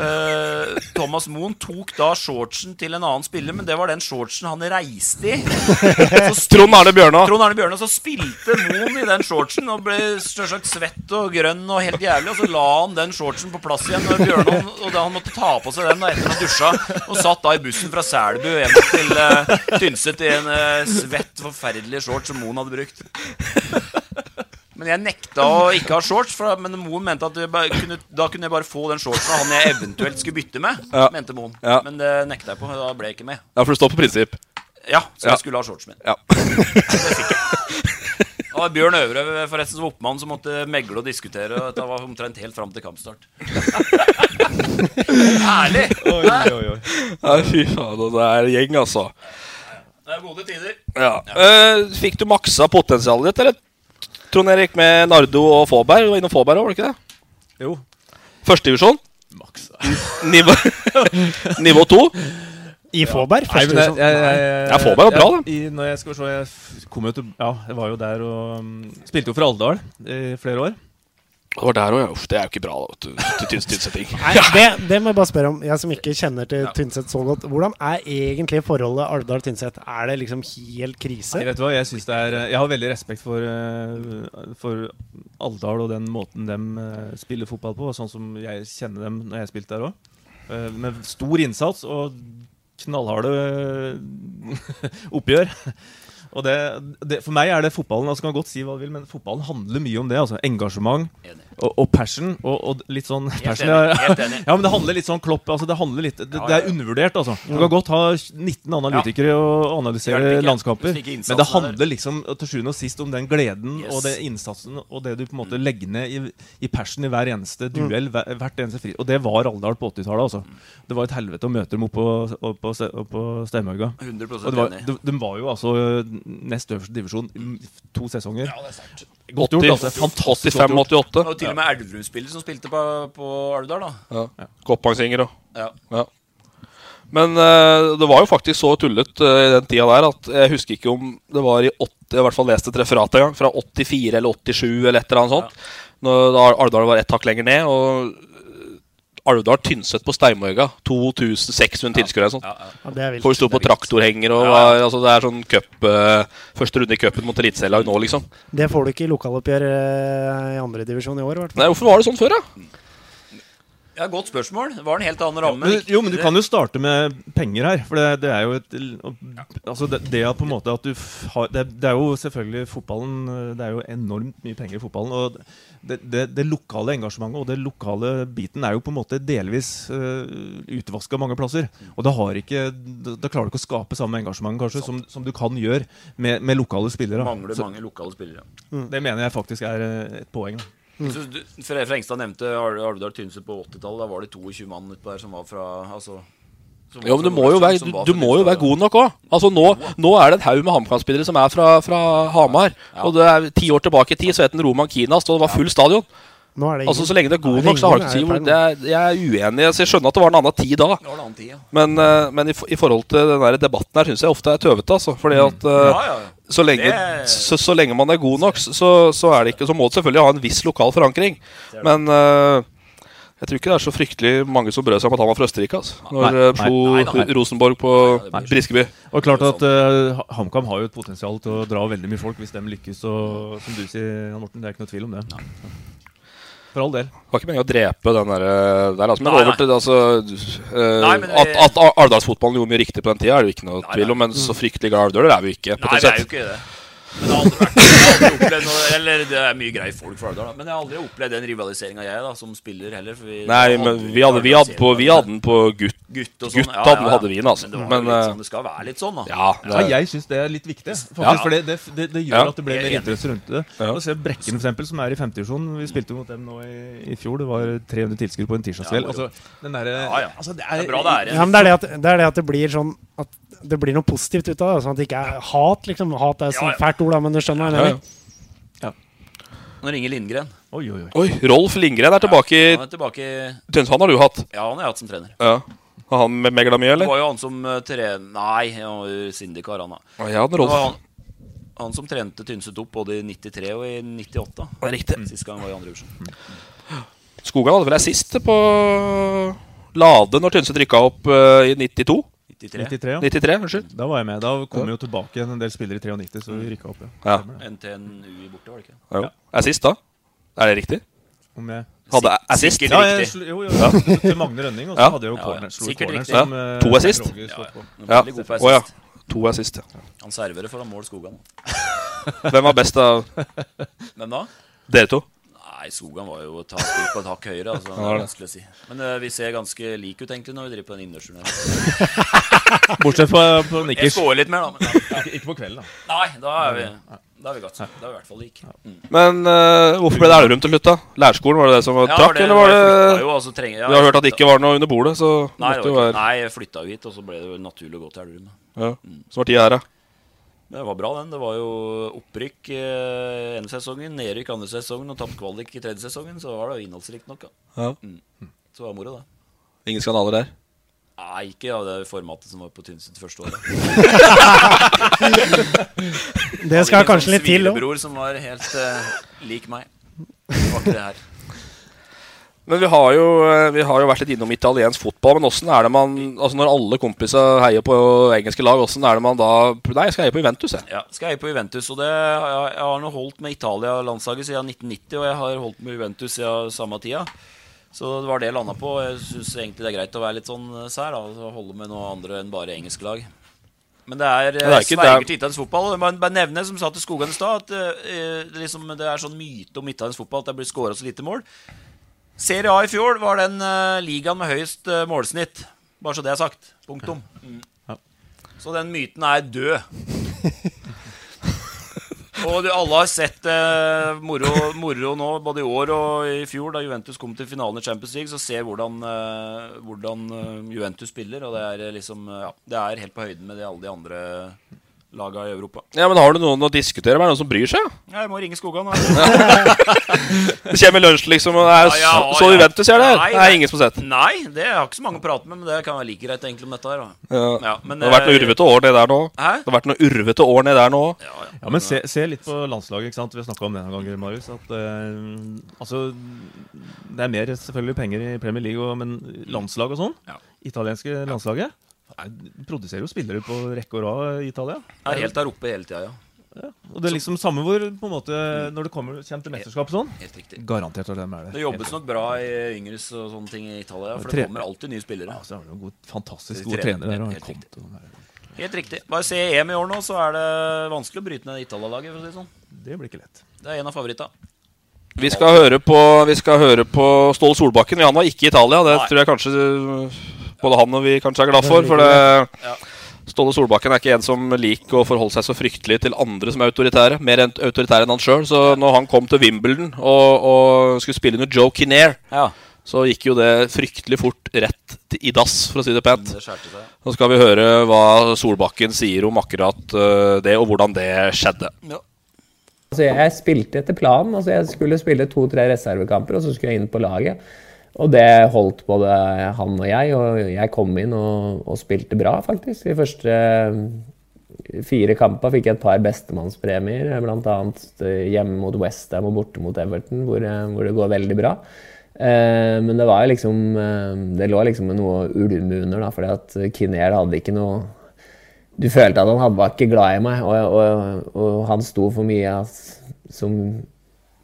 [SPEAKER 4] eh, Thomas Moen tok da shortsen til en annen spiller, men det var den shortsen han reiste i. Så spil-
[SPEAKER 2] Trond Arne Bjørnaa.
[SPEAKER 4] Trond Arne Bjørnaa, så spilte Moen i den shortsen og ble selvsagt svett og grønn og helt jævlig, og så la han den shortsen på plass igjen når Bjørnaa Og da han måtte ta på seg den da etter han dusja, og satt da i bussen fra Selbu hjem til eh, Tynset i en eh, svett, forferdelig shorts som Moen hadde brukt. Men jeg nekta å ikke ha shorts, for, men Moen mente at jeg bare kunne, da kunne jeg bare få den shortsen av han jeg eventuelt skulle bytte med.
[SPEAKER 2] Ja.
[SPEAKER 4] Mente Moen
[SPEAKER 2] Ja.
[SPEAKER 4] Men det nekta jeg på. Da ble jeg ikke med.
[SPEAKER 2] Ja, for det står på prinsipp.
[SPEAKER 4] Ja, så
[SPEAKER 2] Ja.
[SPEAKER 4] jeg skulle ha shortsen min.
[SPEAKER 2] Ja.
[SPEAKER 4] Det fikk jeg. Det var Bjørn Øvre forresten som oppmann som måtte megle og diskutere. Og dette var omtrent helt fram til kampstart. Ærlig! Hæ?
[SPEAKER 2] Ja, fy faen, det er gjeng, altså.
[SPEAKER 4] Det er gode tider.
[SPEAKER 2] Ja. Eh, fikk du maksa potensialet ditt, eller? Trond Erik med Nardo og Faaberg. Du var innom Faaberg òg, var det ikke det?
[SPEAKER 5] Jo.
[SPEAKER 2] Førstedivisjon? N- Nivå, nivå to?
[SPEAKER 3] I Faaberg?
[SPEAKER 5] Nei, men jeg, jeg, jeg, jeg,
[SPEAKER 2] Ja, Faaberg var bra, da.
[SPEAKER 5] i- Når jeg skal se, jeg f- kom jo til Ja, jeg var jo der og um, Spilte jo for Alvdal i flere år.
[SPEAKER 2] Det var der òg, ja. Uff, det er jo ikke bra, da, vet du. Til tyns- tynsetting.
[SPEAKER 3] Nei, det, det må jeg bare spørre om, jeg som ikke kjenner til Tynset så godt. Hvordan er egentlig forholdet Alvdal-Tynset? Er det liksom helt krise?
[SPEAKER 5] Nei, vet du hva? Jeg, synes det er, eh, jeg har veldig respekt for, eh, for Alvdal og den måten de spiller fotball på, og sånn som jeg kjenner dem når jeg spilte der òg. Med stor innsats og knallharde eh, oppgjør. Og det, det, for meg er det fotballen altså kan godt si hva du vil, men fotballen handler mye om det. altså Engasjement og, og passion. Og, og litt sånn passion,
[SPEAKER 4] enig,
[SPEAKER 5] ja.
[SPEAKER 4] helt enig.
[SPEAKER 5] ja, men det handler litt sånn klopp altså Det handler litt, det,
[SPEAKER 4] Ja,
[SPEAKER 5] det
[SPEAKER 4] ja,
[SPEAKER 5] er
[SPEAKER 4] ja.
[SPEAKER 5] undervurdert. altså Du
[SPEAKER 4] Ja.
[SPEAKER 5] kan godt ha 19 analytikere og analysere
[SPEAKER 4] Hjelper ikke,
[SPEAKER 5] landskamper,
[SPEAKER 4] hvis ikke innsatsen
[SPEAKER 5] men det
[SPEAKER 4] er der.
[SPEAKER 5] handler liksom til sjuende og sist om den gleden
[SPEAKER 4] Yes. Mm.
[SPEAKER 5] og den innsatsen og det du på en måte legger ned i, i passion i hver eneste duell. hver- hvert eneste fri Og det var Alvdal på 80-tallet. altså
[SPEAKER 4] Mm.
[SPEAKER 5] Det var et helvete å møte dem opp på, opp på, opp på Steinmøgga.
[SPEAKER 4] 100%
[SPEAKER 5] Og det var,
[SPEAKER 4] enig.
[SPEAKER 5] de, de var jo altså ø, nest øverste divisjon i to sesonger. Ja, det er sterkt. altså,
[SPEAKER 4] Det var jo til og med Elverum-spiller som spilte på, på Alvdal, da.
[SPEAKER 2] Ja. Koppangsinger og
[SPEAKER 4] Ja.
[SPEAKER 2] Men eh, det var jo faktisk så tullet eh, i den tida der at jeg husker ikke om det var i 80, jeg har i hvert fall lest et referat en gang, fra 84 eller 87 eller et eller annet sånt. Når da Alvdal var ett hakk lenger ned. Og Alvdal Tynset på Steinmøyga. 2600 tilskuere eller sånt.
[SPEAKER 3] Ja, det er vilt.
[SPEAKER 2] Folk sto på
[SPEAKER 3] Det er vilt.
[SPEAKER 2] traktorhenger og
[SPEAKER 3] Ja,
[SPEAKER 2] var, altså, det er sånn cup eh, Første runde i cupen mot eliteserielag nå, liksom.
[SPEAKER 3] Det får du ikke i lokaloppgjør eh, i andredivisjon i år, i hvert fall.
[SPEAKER 2] Nei, hvorfor var det sånn før, da?
[SPEAKER 4] ja, godt spørsmål. Det var en helt annen ramme.
[SPEAKER 5] Men, jo, men du kan jo starte med penger her. For det, det er jo et Altså, det, det er på en måte at du f- har det, det er jo selvfølgelig fotballen eh, Det er jo enormt mye penger i fotballen. Og det, det, det lokale engasjementet og det lokale biten er jo på en måte delvis uh, utvaska mange plasser. Og da har ikke Da da klarer du ikke å skape samme engasjement, kanskje, som, som du kan gjøre med, med lokale spillere.
[SPEAKER 4] Mangler
[SPEAKER 5] Så-
[SPEAKER 4] mange lokale spillere.
[SPEAKER 5] Det mener jeg faktisk er eh, et poeng. Da.
[SPEAKER 2] Mm.
[SPEAKER 4] Jeg synes du- Fre- Frengstad nevnte Al- Alvdal Tynset på 80-tallet. Da var det 22 mann utpå der som var fra altså, som
[SPEAKER 2] Jo,
[SPEAKER 4] var
[SPEAKER 2] men du
[SPEAKER 4] fra
[SPEAKER 2] må jo
[SPEAKER 4] Nordland,
[SPEAKER 2] være,
[SPEAKER 4] som
[SPEAKER 2] du,
[SPEAKER 4] var
[SPEAKER 2] du
[SPEAKER 4] fra
[SPEAKER 2] må jo være god nok òg. Altså, nå, nå er det en haug med HamKam-spillere som er fra, fra Hamar. Og det er Ti år tilbake i tid så het den Roman Kinas, og det var full stadion.
[SPEAKER 3] Nå er det ingen.
[SPEAKER 2] Altså, Så lenge det er god
[SPEAKER 3] Nei,
[SPEAKER 2] nok, så har det
[SPEAKER 3] ingen
[SPEAKER 2] ikke si
[SPEAKER 3] er
[SPEAKER 2] hvor
[SPEAKER 3] i
[SPEAKER 2] det er, Jeg er uenig. Altså, Jeg skjønner at det var en annen tid da.
[SPEAKER 4] var en annen tid, ja.
[SPEAKER 2] Men, eh, men i, for- i forhold til den der debatten her syns jeg ofte er tøvete. Altså. Fordi at eh,
[SPEAKER 4] Ja, ja, ja.
[SPEAKER 2] Så, lenge,
[SPEAKER 4] Det-
[SPEAKER 2] så, så lenge man er god nok, så, så, er det ikke, så må det selvfølgelig ha en viss lokal forankring. Men eh, jeg tror ikke det er så fryktelig mange som brød seg om at han var fra Østerrike. Altså, når
[SPEAKER 5] Nei,
[SPEAKER 2] eh, slo
[SPEAKER 5] nei, nei, nei.
[SPEAKER 2] Rosenborg på Briskeby.
[SPEAKER 5] Og klart at eh, Ha- HamKam har jo et potensial til å dra veldig mye folk hvis de lykkes. Og som du sier, Jan Morten, det er ikke noe tvil om det. For all del.
[SPEAKER 2] Det var ikke meningen å drepe den der, eh, der altså. Men
[SPEAKER 5] Nei,
[SPEAKER 2] over til altså, eh,
[SPEAKER 5] Nei, men vi-
[SPEAKER 2] At, at Ar- Arendalsfotballen gjorde mye riktig på den tida, er det jo ikke noe tvil om. Men så fryktelig glad i Arendøler er vi ikke.
[SPEAKER 4] Nei,
[SPEAKER 2] potensett.
[SPEAKER 4] det er jo ikke det. Men jeg har aldri vært jeg har aldri opplevd noe, Eller det er mye greie folk fra Alvdal, da. Men jeg har aldri opplevd den rivaliseringa jeg, da, som spiller heller. For vi,
[SPEAKER 2] Nei, men vi hadde, vi hadde, på, vi hadde den på gutt,
[SPEAKER 4] Gutt og sånn,
[SPEAKER 2] gutta
[SPEAKER 4] ja, ja, ja.
[SPEAKER 2] hadde vi den, altså.
[SPEAKER 4] Men det var jo
[SPEAKER 2] Men,
[SPEAKER 4] litt
[SPEAKER 2] eh,
[SPEAKER 4] sånn, det skal være litt sånn, da.
[SPEAKER 2] Ja,
[SPEAKER 5] Ja, jeg syns det er litt viktig. Faktisk,
[SPEAKER 2] Ja.
[SPEAKER 5] For det, det, det, det gjør
[SPEAKER 2] Ja.
[SPEAKER 5] at det blir mer
[SPEAKER 2] Jeg er enig.
[SPEAKER 5] interesse rundt det. Og se Brekken, for eksempel, som er i femtedivisjon. Vi spilte mot dem nå i, i fjor. Det var 300 tilskuere på en tirsdagskveld.
[SPEAKER 3] Ja, moro.
[SPEAKER 5] altså, den derre altså, det,
[SPEAKER 4] er bra det er
[SPEAKER 3] Ja, men det er det, at, det er det at det blir sånn At det blir noe positivt ut av det. Sånn at det ikke er hat, liksom. Hat er et sånt fælt ord, da, men du skjønner hva jeg mener.
[SPEAKER 4] Nå ringer Lindgren.
[SPEAKER 5] Oi, oi,
[SPEAKER 2] Oi, Rolf Lindgren er tilbake i
[SPEAKER 4] han er tilbake i-
[SPEAKER 2] Tønsberg. Han har du hatt.
[SPEAKER 4] Ja, han har jeg hatt som trener.
[SPEAKER 2] Ja. Har han med megla mye,
[SPEAKER 4] Det
[SPEAKER 2] eller?
[SPEAKER 4] var jo han som eh, tren... Nei, han var jo syndikar, han da.
[SPEAKER 2] Å, ja, den
[SPEAKER 4] Det var
[SPEAKER 2] Rolf.
[SPEAKER 4] han, han som trente Tynset opp både i 93 og i 98. da.
[SPEAKER 2] Det er riktig.
[SPEAKER 4] Sist gang han var i andre divisjon.
[SPEAKER 2] Mm. Skogan hadde vel ei sist på Lade når Tynset rykka opp eh, i 92.
[SPEAKER 5] 93, ja.
[SPEAKER 2] 93, unnskyld.
[SPEAKER 5] Da var jeg med. Da kom jo tilbake igjen en del spillere i 93, så vi rykka opp. Ja.
[SPEAKER 2] Ja.
[SPEAKER 5] Stemmer det.
[SPEAKER 4] NTNU borte, var det ikke?
[SPEAKER 2] Jo. Assist, da? Er det riktig?
[SPEAKER 5] Om jeg-
[SPEAKER 2] Hadde
[SPEAKER 5] Sik-
[SPEAKER 2] assist?
[SPEAKER 5] sikkert Ja, jeg riktig. slo- jo, jo, jeg slo til Magne Rønning, og så hadde jeg jo corner- slo
[SPEAKER 4] Sikkert
[SPEAKER 5] corner
[SPEAKER 4] riktig.
[SPEAKER 5] som,
[SPEAKER 2] Ja.
[SPEAKER 5] eh,
[SPEAKER 2] To assist?
[SPEAKER 5] Roger
[SPEAKER 2] Ja,
[SPEAKER 5] står på.
[SPEAKER 2] ja.
[SPEAKER 4] Veldig god på
[SPEAKER 2] Å, ja.
[SPEAKER 4] assist.
[SPEAKER 2] To assist, ja.
[SPEAKER 4] Han serverer foran mål Skogan.
[SPEAKER 2] Hvem var best av
[SPEAKER 4] Hvem da?
[SPEAKER 2] dere to?
[SPEAKER 4] Nei, Skogan var jo et hakk spilt på et hakk høyere. Altså, det
[SPEAKER 2] Ja,
[SPEAKER 4] er
[SPEAKER 2] det.
[SPEAKER 4] vanskelig å si. Men eh, vi ser ganske like ut egentlig når vi driver på den innendørs
[SPEAKER 5] Bortsett fra på Nikkers.
[SPEAKER 4] Jeg scorer litt mer, da. Men, ja.
[SPEAKER 5] Ikke på kvelden, da.
[SPEAKER 4] Nei, da er vi Da er vi godt. Da er vi i hvert fall like. Mm.
[SPEAKER 2] Men eh, hvorfor ble det Elverum til slutt, da? Lærerskolen, var det det som var
[SPEAKER 4] Ja,
[SPEAKER 2] trakk,
[SPEAKER 4] det
[SPEAKER 2] eller var
[SPEAKER 4] var-
[SPEAKER 2] det
[SPEAKER 4] jo, altså, trenger- ja,
[SPEAKER 2] Vi har hørt at det
[SPEAKER 4] jeg-
[SPEAKER 2] ikke var noe under bordet, så
[SPEAKER 4] Nei,
[SPEAKER 2] måtte
[SPEAKER 4] det
[SPEAKER 2] jo
[SPEAKER 4] var ikke-
[SPEAKER 2] være
[SPEAKER 4] nei, jeg flytta jo hit, og så ble det jo naturlig å gå til Elverum.
[SPEAKER 2] ja. Så var tida her, da.
[SPEAKER 4] Det var bra, den. Det var jo opprykk eh, ene sesongen, nedrykk andre sesongen og tapt kvalik i tredje sesongen. Så var det jo innholdsrikt nok. Da.
[SPEAKER 2] Ja.
[SPEAKER 4] Mm. Så det var moro, det.
[SPEAKER 2] Ingen skandaler der.
[SPEAKER 4] Nei, ikke av det formatet som var på Tynset første året.
[SPEAKER 3] Det skal
[SPEAKER 2] sånn
[SPEAKER 3] kanskje litt til
[SPEAKER 4] òg.
[SPEAKER 3] også.
[SPEAKER 4] sånn Svigerbror som var helt eh, lik meg. Det var ikke det her.
[SPEAKER 2] Men vi har, jo, eh, vi har jo vært litt innom italiensk fotball. Men åssen er det man Altså Når alle kompisa heier på engelske lag, åssen er det man da Nei, jeg skal heie på Juventus, jeg.
[SPEAKER 4] Ja, skal jeg på Juventus, og det, jeg jeg har nå holdt med Italia-landslaget siden 1990, og jeg har holdt med Juventus siden samme tida. Så det var det jeg landa på. Jeg syns egentlig det er greit å være litt sånn eh, sær, da, og holde med noe andre enn bare engelske lag. Men det er,
[SPEAKER 2] Det er ikke-
[SPEAKER 4] sverger
[SPEAKER 2] det er-
[SPEAKER 4] til Italiensk fotball. Og Jeg må bare nevne, som sa til Skogan i stad, at eh, det, liksom, det er sånn myte om italiensk fotball at det blir skåra så lite mål. Serie A i fjor var den eh, ligaen med høyest eh, målsnitt. Bare så det er sagt. Punktum. Mm. Så den myten er død. Og du, alle har sett eh, moro, moro nå, både i år og i fjor, da Juventus kom til finalen i Champions League, så ser hvordan, eh, hvordan eh, Juventus spiller, og det er eh, liksom eh, Ja, det er helt på høyden med det alle de andre laga i Europa.
[SPEAKER 2] Ja, men har du noen å diskutere med? Er det noen som bryr seg?
[SPEAKER 4] Ja, jeg må ringe Skogan. nå.
[SPEAKER 2] Det kommer lunsj, liksom, og det er
[SPEAKER 4] Ja, ja,
[SPEAKER 2] så- så
[SPEAKER 4] ja.
[SPEAKER 2] Juventus er der.
[SPEAKER 4] Nei,
[SPEAKER 2] Det er ingen som har sett.
[SPEAKER 4] Nei, det har ikke så mange å prate med, men det kan være like greit egentlig om dette her. da.
[SPEAKER 2] Ja.
[SPEAKER 4] Ja, men,
[SPEAKER 2] det har vært
[SPEAKER 4] eh,
[SPEAKER 2] noen urvete år ned der nå.
[SPEAKER 4] Hæ?
[SPEAKER 2] Det har vært noen urvete år ned der nå.
[SPEAKER 5] Ja, men se, se litt på landslaget. ikke sant? Vi har snakka om det en gang, Marius. At, eh, altså, det er mer selvfølgelig penger i Premier League, og, men landslag og sånn Italienske landslaget er- produserer jo spillere på rekke og rad i Italia.
[SPEAKER 4] Er helt der oppe hele tida, ja.
[SPEAKER 5] Og det er liksom samme hvor på en måte, Når det kommer, kommer til mesterskap og sånn
[SPEAKER 4] Helt riktig.
[SPEAKER 5] Garantert at de er det.
[SPEAKER 4] Det jobbes nok bra i Yngres og sånne ting i Italia, for
[SPEAKER 5] Tre-
[SPEAKER 4] det kommer alltid nye spillere.
[SPEAKER 5] Ja, så er det jo god,
[SPEAKER 4] De
[SPEAKER 5] fantastisk gode
[SPEAKER 4] trener,
[SPEAKER 5] trenere der. Og
[SPEAKER 4] helt
[SPEAKER 5] kom
[SPEAKER 4] riktig.
[SPEAKER 5] til den der.
[SPEAKER 4] Helt riktig. Bare se EM i år nå, så er det vanskelig å bryte ned Italia-laget. for å si Det sånn.
[SPEAKER 5] Det blir ikke lett.
[SPEAKER 4] Det er en av favorittene.
[SPEAKER 2] Vi skal høre på, vi skal høre på Ståle Solbakken. men Han var ikke i Italia. Det
[SPEAKER 4] Nei.
[SPEAKER 2] tror jeg kanskje øh, både han og vi kanskje er glad for. For
[SPEAKER 4] Ja.
[SPEAKER 2] det, Ståle Solbakken er ikke en som liker å forholde seg så fryktelig til andre som er autoritære. Mer enn autoritære enn han sjøl. Så når han kom til Wimbledon og, og skulle spille under Joe Kinnair, så gikk jo det fryktelig fort rett til- i dass, for å si det pent.
[SPEAKER 4] Det skjærte seg.
[SPEAKER 2] Nå skal vi høre hva Solbakken sier om akkurat øh, det, og hvordan det skjedde.
[SPEAKER 7] Altså, jeg spilte etter planen. Altså, jeg skulle spille to-tre reservekamper, og så skulle jeg inn på laget. Og det holdt både han og jeg, og jeg kom inn og, og spilte bra, faktisk. De første eh, fire kampene fikk jeg et par bestemannspremier, bl.a. hjemme mot Westham og borte mot Everton, hvor, eh, hvor det går veldig bra. Eh, Men det var jo liksom eh, Det lå liksom noe ulme under, da, fordi at Kinnair hadde ikke noe du følte at han hadde- var ikke glad i meg, og, og, og han sto for mye av s- som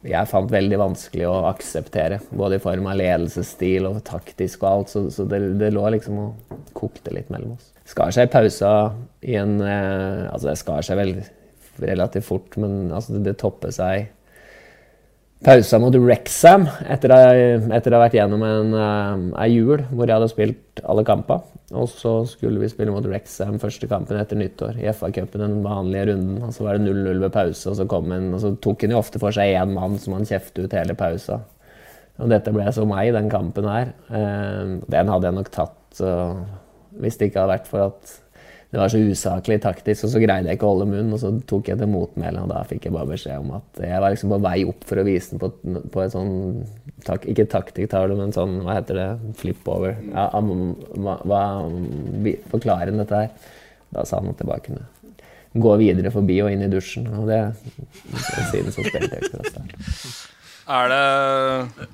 [SPEAKER 7] jeg fant veldig vanskelig å akseptere. Både i form av ledelsesstil og taktisk og alt, så, så det, det lå liksom og kokte litt mellom oss. Skar seg i pausa i en eh, Altså, det skar seg vel relativt fort, men altså, det, det toppet seg pausa mot Rexham etter å etter å ha vært gjennom en, eh, ei jul hvor jeg hadde spilt alle kamper. Og så skulle vi spille mot Rexham første kampen etter nyttår i FA-cupen, den vanlige runden. Og så var det 0-0 ved pause, og så, kom en, og så tok han jo ofte for seg én mann som han kjeftet ut hele pausa. Og dette ble så meg, den kampen her. Eh, Den hadde jeg nok tatt eh, hvis det ikke hadde vært for at det var så usaklig taktisk, og så greide jeg ikke å holde munn. Og så tok jeg til motmæle, og da fikk jeg bare beskjed om at jeg var liksom på vei opp for å vise den på, på en sånn tak, Ikke taktikktavle, men sånn, hva heter det, flip-over. Ja, am- hva, hva, vi- forklare ham dette her. Da sa han at jeg bare kunne gå videre forbi og inn i dusjen, og det Siden så spilte jeg ikke dette.
[SPEAKER 2] Er det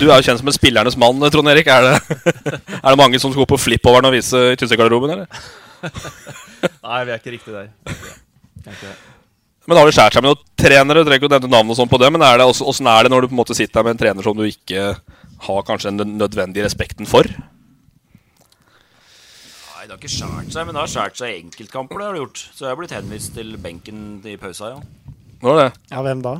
[SPEAKER 2] Du er jo kjent som en spillernes mann, Trond Erik. Er det, er det mange som skal gå på flip-overen og vise i Tynset-garderoben, eller?
[SPEAKER 5] Nei, vi er ikke riktig der. Vi er ikke der.
[SPEAKER 2] Men har det skjært seg med noen trenere? Du trenger ikke å nevne navn og sånn på det, men er det også, hvordan er det når du på en måte sitter der med en trener som du ikke har kanskje den nødvendige respekten for?
[SPEAKER 4] Nei, det har ikke skjært seg, men det har skjært seg i enkeltkamper. det har det gjort. Så jeg har blitt henvist til benken i pausa, ja.
[SPEAKER 2] Nå er det
[SPEAKER 3] Ja, hvem da?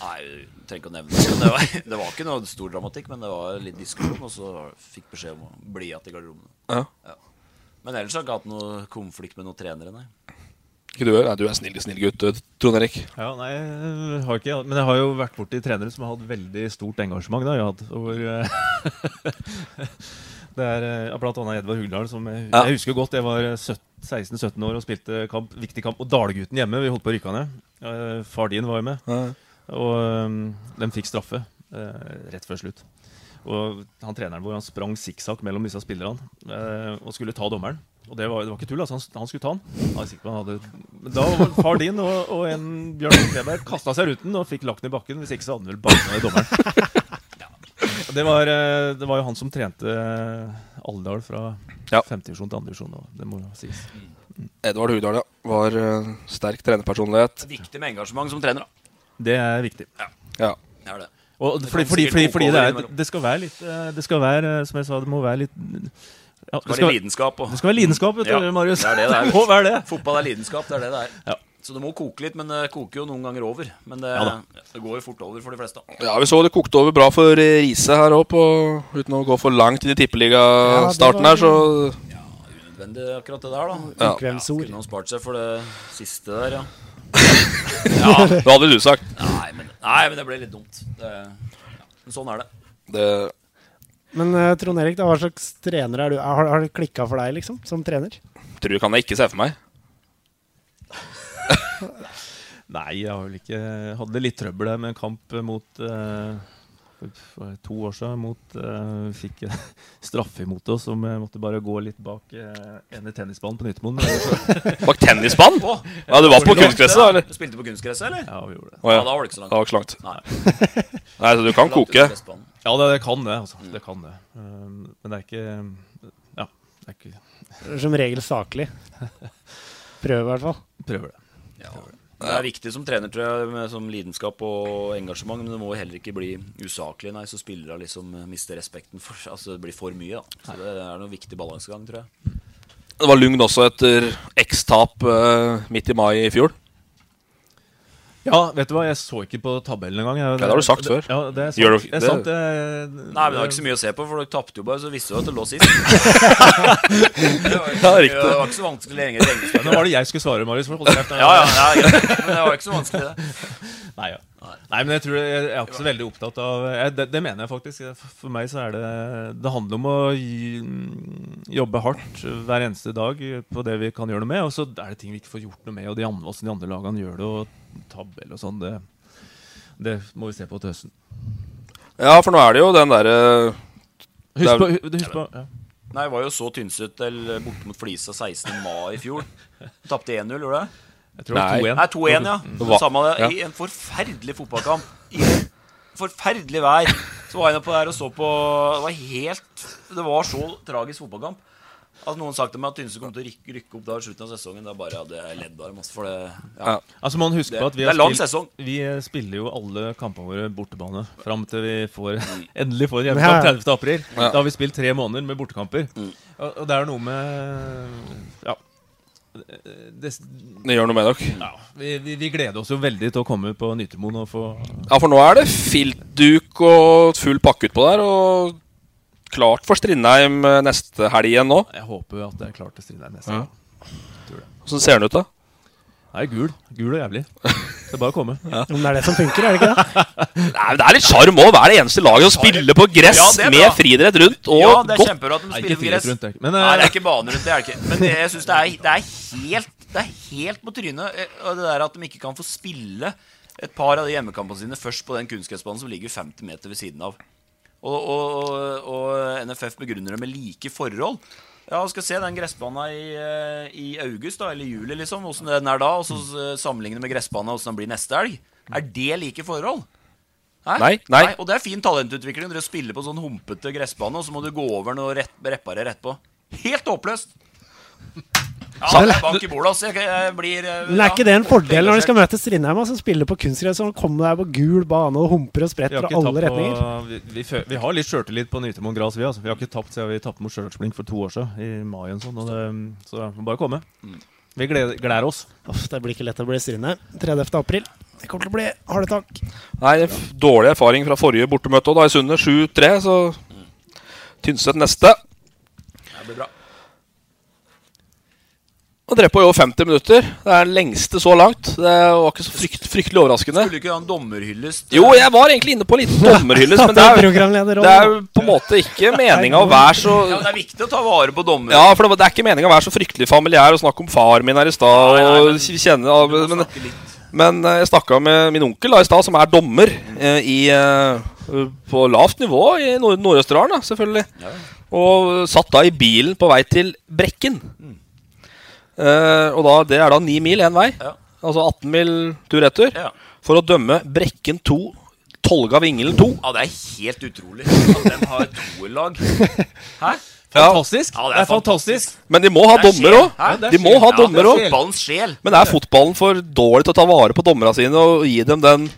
[SPEAKER 4] Nei, du trenger ikke å nevne det. men Det var, det var ikke noe stor dramatikk, men det var litt diskusjon, og så fikk beskjed om å bli igjen i garderoben.
[SPEAKER 2] Ja.
[SPEAKER 4] Men ellers har jeg ikke hatt noe konflikt med noen trenere, nei.
[SPEAKER 2] Ikke du, nei, du er snill, snill gutt, du, Trond Erik.
[SPEAKER 5] Ja, nei, jeg har ikke, men jeg har jo vært borti trenere som har hatt veldig stort engasjement. Da, jeg har hatt over, eh, det er eh, ja, blant annet Edvard Hugdal, som jeg,
[SPEAKER 2] Ja.
[SPEAKER 5] jeg husker godt. Jeg var 17 16-17 år og spilte kamp, viktig kamp mot Dalgutten hjemme. Vi holdt på å rykke ned. Eh, Far din var jo med. Og eh, de fikk straffe eh, rett før slutt. Og han treneren vår han sprang sikksakk mellom disse spillerne eh, og skulle ta dommeren. Og det var, det var ikke tull, altså. Han, han skulle ta han. Jeg er sikker på han hadde... Men da var far din og, og en Bjørn Teberg kasta seg ruten og fikk lagt den i bakken. Hvis ikke så hadde han vel banka dommeren. Og Det var, eh, det var jo han som trente eh, Alvdal fra femtedivisjon til andredivisjon. Det må jo sies.
[SPEAKER 2] Edvard Hugdal, ja. Var eh, sterk trenerpersonlighet.
[SPEAKER 4] Viktig med engasjement som trener, da.
[SPEAKER 5] Det er viktig.
[SPEAKER 2] Ja.
[SPEAKER 4] Det er det.
[SPEAKER 5] Og
[SPEAKER 4] Det
[SPEAKER 5] fordi,
[SPEAKER 4] kan
[SPEAKER 5] fordi,
[SPEAKER 4] sikkert
[SPEAKER 5] fordi,
[SPEAKER 4] koke
[SPEAKER 5] fordi
[SPEAKER 4] over
[SPEAKER 5] det, er,
[SPEAKER 4] innimellom.
[SPEAKER 5] det skal være litt eh, Det skal være, eh, som jeg sa, det må være litt Ja,
[SPEAKER 4] det skal være lidenskap. Og.
[SPEAKER 5] Det skal være lidenskap, vet du,
[SPEAKER 4] Ja,
[SPEAKER 5] Marius.
[SPEAKER 4] Det er det det er.
[SPEAKER 5] må være det.
[SPEAKER 4] Fotball er lidenskap, det er det det er. Så det må koke litt, men det koker jo noen ganger over. Men det,
[SPEAKER 2] Ja da.
[SPEAKER 4] det går jo fort over for de fleste.
[SPEAKER 2] Ja, Vi så det kokte over bra for eh, Riise her òg, uten å gå for langt inn i tippeligastarten her,
[SPEAKER 4] Ja, det
[SPEAKER 2] så
[SPEAKER 4] var- Unødvendig akkurat det der, da.
[SPEAKER 2] Ja.
[SPEAKER 4] Ukvemsord. Kunne han spart seg for det siste der, ja.
[SPEAKER 2] Ja, det hadde du sagt.
[SPEAKER 4] Nei, men, nei, men det ble litt dumt. Det, ja. Men sånn er det.
[SPEAKER 2] det
[SPEAKER 3] Men eh, Trond Erik, da, hva slags trener er du? Har, har det klikka for deg, liksom? Som trener?
[SPEAKER 2] tror du kan jeg ikke se for meg.
[SPEAKER 5] Nei, jeg har vel ikke hadde det litt trøbbel der med en kamp mot eh, for- for to år siden mot eh, Fikk en straffe imot oss som jeg måtte bare gå litt bak eh, ene tennisbanen på Nyttemoen.
[SPEAKER 2] Bak tennisbanen?
[SPEAKER 4] Å!
[SPEAKER 2] Ja, du var på kunstgresset, da? eller?
[SPEAKER 4] Du spilte på kunstgresset, eller?
[SPEAKER 5] Ja, vi gjorde det.
[SPEAKER 2] Å, ja.
[SPEAKER 4] Ja, da var det ikke så langt.
[SPEAKER 2] Da var det ikke så langt.
[SPEAKER 4] Nei.
[SPEAKER 2] Nei, så du kan
[SPEAKER 4] Langt
[SPEAKER 2] koke.
[SPEAKER 4] ut på Vestbanen.
[SPEAKER 5] Ja, det, det kan det. altså. Det kan det. Um, men det er ikke Ja. Det er ikke
[SPEAKER 3] Som regel saklig. Prøv, i hvert fall.
[SPEAKER 5] Prøver det.
[SPEAKER 4] Det er viktig som trener tror jeg, med som lidenskap og engasjement, men det må jo heller ikke bli usaklig, nei, så spillere liksom eh, mister respekten for Altså det blir for mye, da. Så det er noen viktig balansegang, tror jeg.
[SPEAKER 2] Det var lugn også etter X-tap eh, midt i mai i fjor.
[SPEAKER 5] Ja, vet du hva, jeg så ikke på tabellen engang. Jeg-
[SPEAKER 2] Ja, det har du sagt før.
[SPEAKER 5] Ja, det er sant. eh,
[SPEAKER 2] Gjør du-
[SPEAKER 5] det, er
[SPEAKER 2] det-
[SPEAKER 5] sant. Det,
[SPEAKER 4] Nei, men det var ikke så mye å se på, for dere tapte jo bare, så visste du at det lå sist. det, var ikke,
[SPEAKER 5] Ja,
[SPEAKER 4] så mye-
[SPEAKER 5] riktig.
[SPEAKER 4] det var ikke så vanskelig lenger. lenger.
[SPEAKER 5] Nå var det jeg skulle svare, Marius. for å holde kjeft.
[SPEAKER 4] Ja, ja, ja, ja. Men det var ikke så vanskelig, det.
[SPEAKER 5] Nei, ja. Nei, men jeg tror jeg, jeg er ikke så veldig opptatt av jeg, det, det mener jeg faktisk. For meg så er det Det handler om å gi- jobbe hardt hver eneste dag på det vi kan gjøre noe med. Og så er det ting vi ikke får gjort noe med, og de andre, hvordan de andre lagene gjør det, og tabell og sånn, det, det må vi se på til høsten.
[SPEAKER 2] Ja, for nå er det jo den eh, derre
[SPEAKER 5] Husk på- hu- husk på- ja.
[SPEAKER 4] Nei, jeg var jo så Tynset til borte mot Flisa 16. mai i fjor. Tapte 1-0, gjorde du det?
[SPEAKER 5] Jeg tror det var 2-1.
[SPEAKER 4] Nei, 2-1, ja.
[SPEAKER 5] Mm.
[SPEAKER 4] Det samme det.
[SPEAKER 5] Ja.
[SPEAKER 4] I en forferdelig fotballkamp. I en forferdelig vær. Så var jeg inne på der og så på Det var helt Det var så tragisk fotballkamp. At noen sa til meg at Tynset kom til å rykke, rykke opp da i slutten av sesongen. Da bare hadde jeg ledd av dem. altså, For det ja.
[SPEAKER 5] Altså man husker
[SPEAKER 4] det,
[SPEAKER 5] på at vi,
[SPEAKER 4] det
[SPEAKER 5] har
[SPEAKER 4] er lang
[SPEAKER 5] spilt-
[SPEAKER 4] sesong.
[SPEAKER 5] vi eh, spiller jo alle kampene våre bortebane fram til vi får,
[SPEAKER 4] Mm.
[SPEAKER 5] endelig får en
[SPEAKER 3] Ja,
[SPEAKER 5] hjemmekamp
[SPEAKER 3] ja.
[SPEAKER 5] 30. april.
[SPEAKER 3] Ja.
[SPEAKER 5] Da har vi spilt tre måneder med bortekamper.
[SPEAKER 4] Mm.
[SPEAKER 5] Og, og det er noe med Ja. Det,
[SPEAKER 2] Det gjør noe med dere.
[SPEAKER 5] Ja, vi, vi, vi gleder oss jo veldig til å komme på Nytremoen og få
[SPEAKER 2] Ja, for nå er det filtduk og full pakke utpå der, og klart for Strindheim eh, neste helg igjen nå.
[SPEAKER 5] Jeg håper at det er klart til Strindheim neste
[SPEAKER 2] Ja.
[SPEAKER 5] gang. Tror det.
[SPEAKER 2] Åssen ser den ut, da?
[SPEAKER 5] Nei, gul. Gul og jævlig. Det er bare å komme.
[SPEAKER 3] Men det er det som funker, er det ikke det?
[SPEAKER 2] Nei, men Det er litt sjarm òg. Hver eneste lag som spiller på gress
[SPEAKER 4] Ja, det er bra.
[SPEAKER 2] med friidrett rundt. Og
[SPEAKER 4] ja, det er
[SPEAKER 2] godt.
[SPEAKER 4] kjempebra at de
[SPEAKER 5] Nei,
[SPEAKER 4] spiller
[SPEAKER 5] ikke
[SPEAKER 4] på gress.
[SPEAKER 5] friidrett rundt, det er ikke- men, eh,
[SPEAKER 4] Nei, det er ikke bane rundt, det er det ikke. Men jeg syns det, er- det er helt Det er helt på trynet eh, og det der at de ikke kan få spille et par av de hjemmekampene sine først på den kunstgressbanen som ligger 50 meter ved siden av. Og, og, og, og NFF begrunner det med like forhold. Ja, skal se den gressbanen her i, eh, i august, da, eller juli, liksom, åssen den er da, og så eh, sammenligne med gressbanen og åssen den blir neste elg. Er det like forhold?
[SPEAKER 2] Nei, nei.
[SPEAKER 4] Og det er fin talentutvikling. Dere spiller på sånn humpete gressbane, og så må du gå over den og rett, reparere etterpå. Helt håpløst! Ja,
[SPEAKER 3] Så-
[SPEAKER 4] det er bank i bordet, altså. Jeg, jeg blir eh,
[SPEAKER 3] Men er
[SPEAKER 4] ja,
[SPEAKER 3] ikke det en fordel når
[SPEAKER 4] engasjert.
[SPEAKER 3] de skal møte Strindheim, som spiller på kunstgress, og kommer der på gul bane og humper og
[SPEAKER 5] Vi,
[SPEAKER 3] spretter
[SPEAKER 5] har
[SPEAKER 3] i
[SPEAKER 5] ikke
[SPEAKER 3] alle
[SPEAKER 5] tapt
[SPEAKER 3] retninger?
[SPEAKER 5] på, vi, vi, fø- vi har litt sjøltillit på Nytemoen Gras, vi. Altså. Vi har ikke tapt siden vi tapte mot Stjørdalsblink for to år siden, i mai. Og sånn, og det, så det må bare komme. Vi gleder, gleder oss.
[SPEAKER 3] Uff, det blir ikke lett å bli Strindheim. 30. april. Det kommer til å bli harde tak.
[SPEAKER 2] Nei, det er f- dårlig erfaring fra forrige bortemøte også, da, i Sunde. 7-3, så Tynset neste.
[SPEAKER 4] Det blir bra.
[SPEAKER 2] Og drev på i over 50 minutter. Det er den lengste så langt. Det var ikke så frykt, fryktelig overraskende.
[SPEAKER 4] Skulle ikke ha en dommerhyllest?
[SPEAKER 2] Jo, jeg var egentlig inne på litt dommerhyllest, men det er, jo- det er jo på en måte ikke meninga å være så
[SPEAKER 4] Ja, men Det er viktig å ta vare på dommere.
[SPEAKER 2] Ja, for det, var- det er ikke meninga å være så fryktelig familiær og snakke om far min her i stad. og kjenne av- Men, men eh, jeg snakka med min onkel da i stad, som er dommer eh, i, eh, på lavt nivå i Nord- Nord-Østerdalen, da, selvfølgelig.
[SPEAKER 4] Ja.
[SPEAKER 2] Og eh, satt da i bilen på vei til Brekken. Eh, og da, det er da ni mil én vei. Altså 18 mil tur-retur. For å dømme Brekken 2, Tolga Vingelen 2.
[SPEAKER 4] Ja, det er helt utrolig at de har toerlag. Hæ?
[SPEAKER 5] Fantastisk.
[SPEAKER 4] Ja, det er fantastisk.
[SPEAKER 2] Men de må ha
[SPEAKER 4] Det er
[SPEAKER 2] dommer
[SPEAKER 4] sjel.
[SPEAKER 2] òg.
[SPEAKER 4] Hæ? Det er
[SPEAKER 2] De må
[SPEAKER 4] sjel.
[SPEAKER 2] ha
[SPEAKER 4] Ja, det er
[SPEAKER 2] dommer òg.
[SPEAKER 4] fotballens sjel.
[SPEAKER 2] Men er fotballen for dårlig til å ta vare på dommerne sine og gi dem den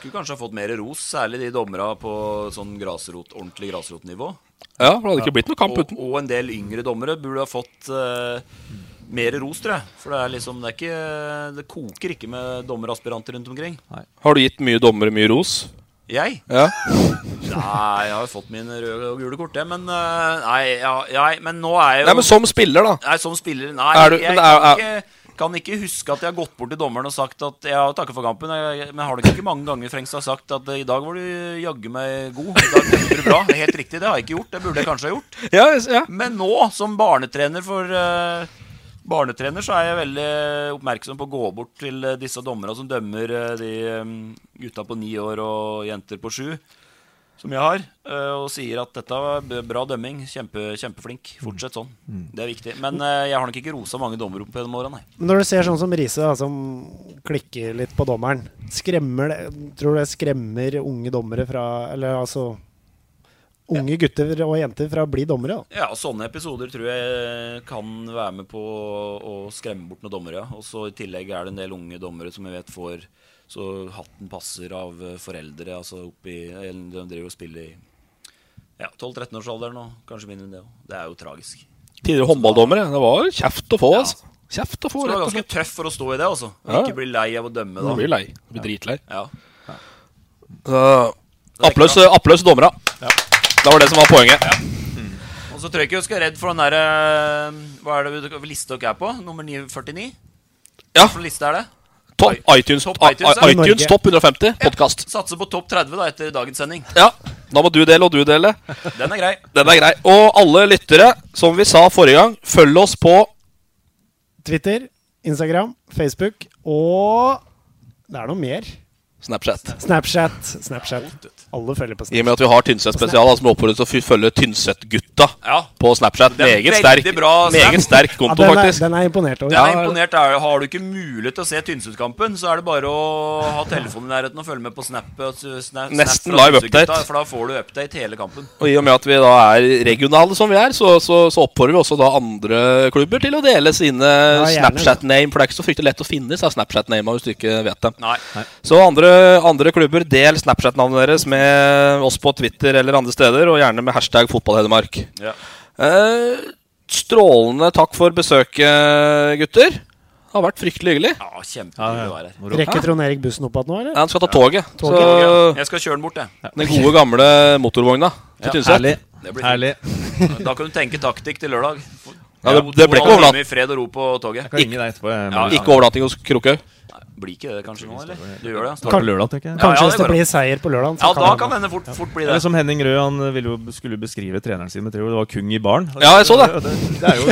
[SPEAKER 4] Skulle kanskje ha fått mer ros, særlig de dommera på sånn grasrot, ordentlig grasrotnivå.
[SPEAKER 2] Ja, for det hadde ikke blitt noe kamp uten.
[SPEAKER 4] Og, og en del yngre dommere burde ha fått eh, mer ros, tror jeg. For det er liksom Det, er ikke, det koker ikke med dommeraspiranter rundt omkring.
[SPEAKER 2] Har du gitt mye dommere mye ros?
[SPEAKER 4] Jeg?
[SPEAKER 2] Ja.
[SPEAKER 4] Nei, jeg har jo fått mine røde og gule kort, jeg. Men, eh, nei, ja, jeg- men nå er jeg jo
[SPEAKER 2] Nei, men som spiller, da.
[SPEAKER 4] Nei, som spiller Nei,
[SPEAKER 2] Er du-
[SPEAKER 4] jeg
[SPEAKER 2] men er-
[SPEAKER 4] kan, ikke, kan ikke huske at jeg har gått bort til dommeren og sagt at jeg har takket for kampen. Jeg, men har du ikke mange ganger Frengs har sagt at eh, i dag var du jaggu meg god? I dag tenkte du bra. Det er Helt riktig, det har jeg ikke gjort. Det burde jeg kanskje ha gjort. Men nå, som barnetrener for eh, Barnetrener så er jeg veldig oppmerksom på å gå bort til eh, disse dommerne som dømmer eh, de eh, gutta på ni år og jenter på sju, som jeg har, eh, og sier at dette var b- bra dømming. Kjempe, kjempeflink. Fortsett sånn.
[SPEAKER 5] Mm.
[SPEAKER 4] Det er viktig. Men eh, jeg har nok ikke rosa mange dommere opp gjennom åra, nei.
[SPEAKER 3] Men Når du ser sånn som Riise, da, som klikker litt på dommeren, skremmer det Tror du det skremmer unge dommere fra Eller altså Unge gutter og jenter fra å bli dommere, da?
[SPEAKER 4] Ja, og sånne episoder tror jeg kan være med på å skremme bort noen dommere. ja. Og så i tillegg er det en del unge dommere som jeg vet får så hatten passer av eh, foreldre. Altså oppi eller De driver og spiller i ja, 12-13-årsalderen og kanskje mindre enn det òg. Det er jo tragisk.
[SPEAKER 2] Tidligere håndballdommere. Det var kjeft å få, altså. Kjeft å
[SPEAKER 4] Så
[SPEAKER 2] få,
[SPEAKER 4] du er
[SPEAKER 2] rett og
[SPEAKER 4] ganske
[SPEAKER 2] slett.
[SPEAKER 4] tøff for å stå i det, altså. Og
[SPEAKER 2] Ja.
[SPEAKER 4] ikke bli lei av å dømme, da.
[SPEAKER 2] Du blir lei. Du blir dritlei.
[SPEAKER 4] Ja.
[SPEAKER 2] Så, Applaus eh, applaus til dommerne. Det var det som var poenget.
[SPEAKER 4] Og så tror jeg ikke du skal være redd for den derre Hva er det vi- liste dere er på? Nummer 49?
[SPEAKER 2] Ja.
[SPEAKER 4] Hvilken liste er det?
[SPEAKER 2] Topp iTunes,
[SPEAKER 4] Topp
[SPEAKER 2] i-
[SPEAKER 4] iTunes, ja.
[SPEAKER 2] i- iTunes topp 150 podkast.
[SPEAKER 4] Satse på topp 30 da etter dagens sending.
[SPEAKER 2] Ja. Da må du dele, og du dele.
[SPEAKER 4] Den er grei.
[SPEAKER 2] Den er grei. Og alle lyttere, som vi sa forrige gang, følg oss på
[SPEAKER 3] Twitter, Instagram, Facebook og Det er noe mer.
[SPEAKER 2] Snapchat.
[SPEAKER 3] Snapchat. Snapchat. Alle følger på Snapchat.
[SPEAKER 2] I og med at vi har Tynset spesial, da, så må vi oppfordre til å fy- følge Tynset-gutta på Snapchat.
[SPEAKER 4] Det er en
[SPEAKER 2] Meget
[SPEAKER 4] veldig
[SPEAKER 2] sterk,
[SPEAKER 4] bra snap.
[SPEAKER 2] meget sterk konto,
[SPEAKER 3] ja, den, er,
[SPEAKER 2] faktisk.
[SPEAKER 3] den er jeg imponert over.
[SPEAKER 4] Jeg er imponert er, Har du ikke mulighet til å se Tynset-kampen, så er det bare å ha telefonen i nærheten og følge med på Snap. sna- snap
[SPEAKER 2] Nesten
[SPEAKER 4] fra
[SPEAKER 2] live
[SPEAKER 4] Tynset-gutta,
[SPEAKER 2] update.
[SPEAKER 4] For da får du update hele kampen.
[SPEAKER 2] Og i og med at vi da er regionale som vi er, så, så, så oppfordrer vi også da andre klubber til å dele sine
[SPEAKER 4] gjerne.
[SPEAKER 2] Snapchat-name. For det er ikke så fryktelig lett å finne disse Snapchat-namene hvis du ikke vet dem.
[SPEAKER 4] Nei.
[SPEAKER 2] Så andre, andre klubber, del Snapchat-navnet deres med oss på Twitter eller andre steder, og gjerne med hashtag fotballhedmark.
[SPEAKER 4] Ja.
[SPEAKER 2] Eh, strålende takk for besøket, gutter. Det har vært fryktelig hyggelig.
[SPEAKER 4] Ja, kjempehyggelig å være her.
[SPEAKER 3] Rekker Trond Erik bussen opp igjen nå, eller?
[SPEAKER 2] Ja, han skal ta toget.
[SPEAKER 3] Toget.
[SPEAKER 2] Så-
[SPEAKER 4] Jeg skal kjøre den bort, jeg.
[SPEAKER 2] Den gode, gamle motorvogna til
[SPEAKER 4] Ja.
[SPEAKER 2] Tynset.
[SPEAKER 4] Det blir fint. Da kan du tenke taktikk til lørdag.
[SPEAKER 2] Ja, det- det blir ikke
[SPEAKER 4] To og en
[SPEAKER 2] overnatt-
[SPEAKER 4] halv time I fred og ro på toget.
[SPEAKER 2] Jeg kan ringe deg etterpå, jeg- Ja, ikke overnatting hos Krokhaug?
[SPEAKER 4] Blir ikke det kanskje nå, eller? Du gjør det?
[SPEAKER 5] Starter på lørdag, tenker jeg.
[SPEAKER 3] Kanskje hvis
[SPEAKER 4] går
[SPEAKER 3] det blir
[SPEAKER 4] an.
[SPEAKER 3] seier på lørdag, så
[SPEAKER 4] Ja,
[SPEAKER 3] kan
[SPEAKER 4] da
[SPEAKER 3] det
[SPEAKER 4] kan
[SPEAKER 3] gå.
[SPEAKER 4] hende fort, fort bli
[SPEAKER 5] Eller
[SPEAKER 4] det.
[SPEAKER 5] som Henning Rød, han ville jo, skulle beskrive treneren sin med tre ord. Det var kung i baren.
[SPEAKER 2] Ja, jeg så det.
[SPEAKER 5] Det er jo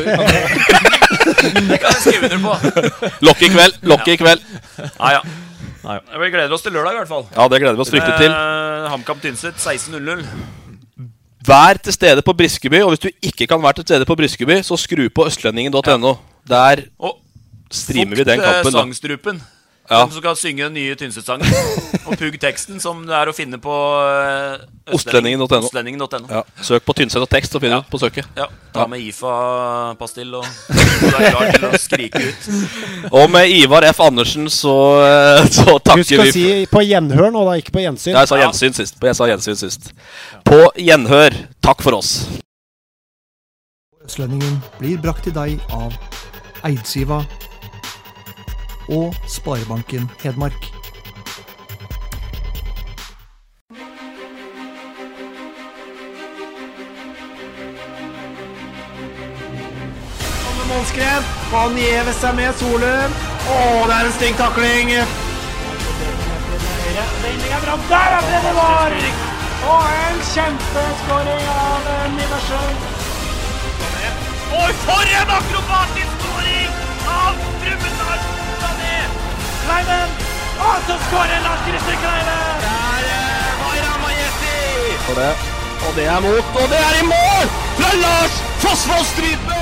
[SPEAKER 4] Det kan jeg skrive under på.
[SPEAKER 2] Lokk i kveld, lokk i
[SPEAKER 4] Ja.
[SPEAKER 2] kveld.
[SPEAKER 4] Nei, ja.
[SPEAKER 5] Nei,
[SPEAKER 4] Vi gleder oss til lørdag, i hvert fall.
[SPEAKER 2] Ja, det gleder vi oss fryktelig til.
[SPEAKER 4] Eh, HamKam Tynset 16.00.
[SPEAKER 2] Vær til stede på Briskeby, og hvis du ikke kan være til stede på Briskeby, så skru på østlendingen.no. Der streamer vi den
[SPEAKER 4] Fukt, eh,
[SPEAKER 2] kampen. da.
[SPEAKER 4] Sangstrupen.
[SPEAKER 2] Ja.
[SPEAKER 4] Den som skal synge den nye Tynset-sangen. og pugg teksten, som det er å finne på eh, Østlendingen-
[SPEAKER 2] Ostlendingen.no.
[SPEAKER 4] Ostlendingen.no.
[SPEAKER 2] Ja. Søk på Tynset og tekst, så finner du det på søket.
[SPEAKER 4] Ja, ta med IFA-pastill og så er du klar til å skrike ut.
[SPEAKER 2] Og med Ivar F. Andersen så, eh, så takker vi
[SPEAKER 3] Husk å
[SPEAKER 2] for-
[SPEAKER 3] si på gjenhør nå, da, ikke på gjensyn.
[SPEAKER 2] Ja, Jeg sa gjensyn sist. Jeg sa gjensyn sist. På gjenhør. Takk for oss.
[SPEAKER 1] Østlendingen blir brakt til deg av Eidsiva og Sparebanken Hedmark.
[SPEAKER 3] Kommer Målskred. Han gjever seg med Solum. Å, det er en stygg takling.
[SPEAKER 6] Vending er bra. Der er det det var! Og en kjempeskåring av eh, Niversen. Og for en akrobatisk skåring av Brumunddal Sané! Kleiven! Og så skårer Lars Christer Kleiven! Der var Ramajesi!
[SPEAKER 2] Og det er mot, og det er i mål fra Lars Fossvold Strype!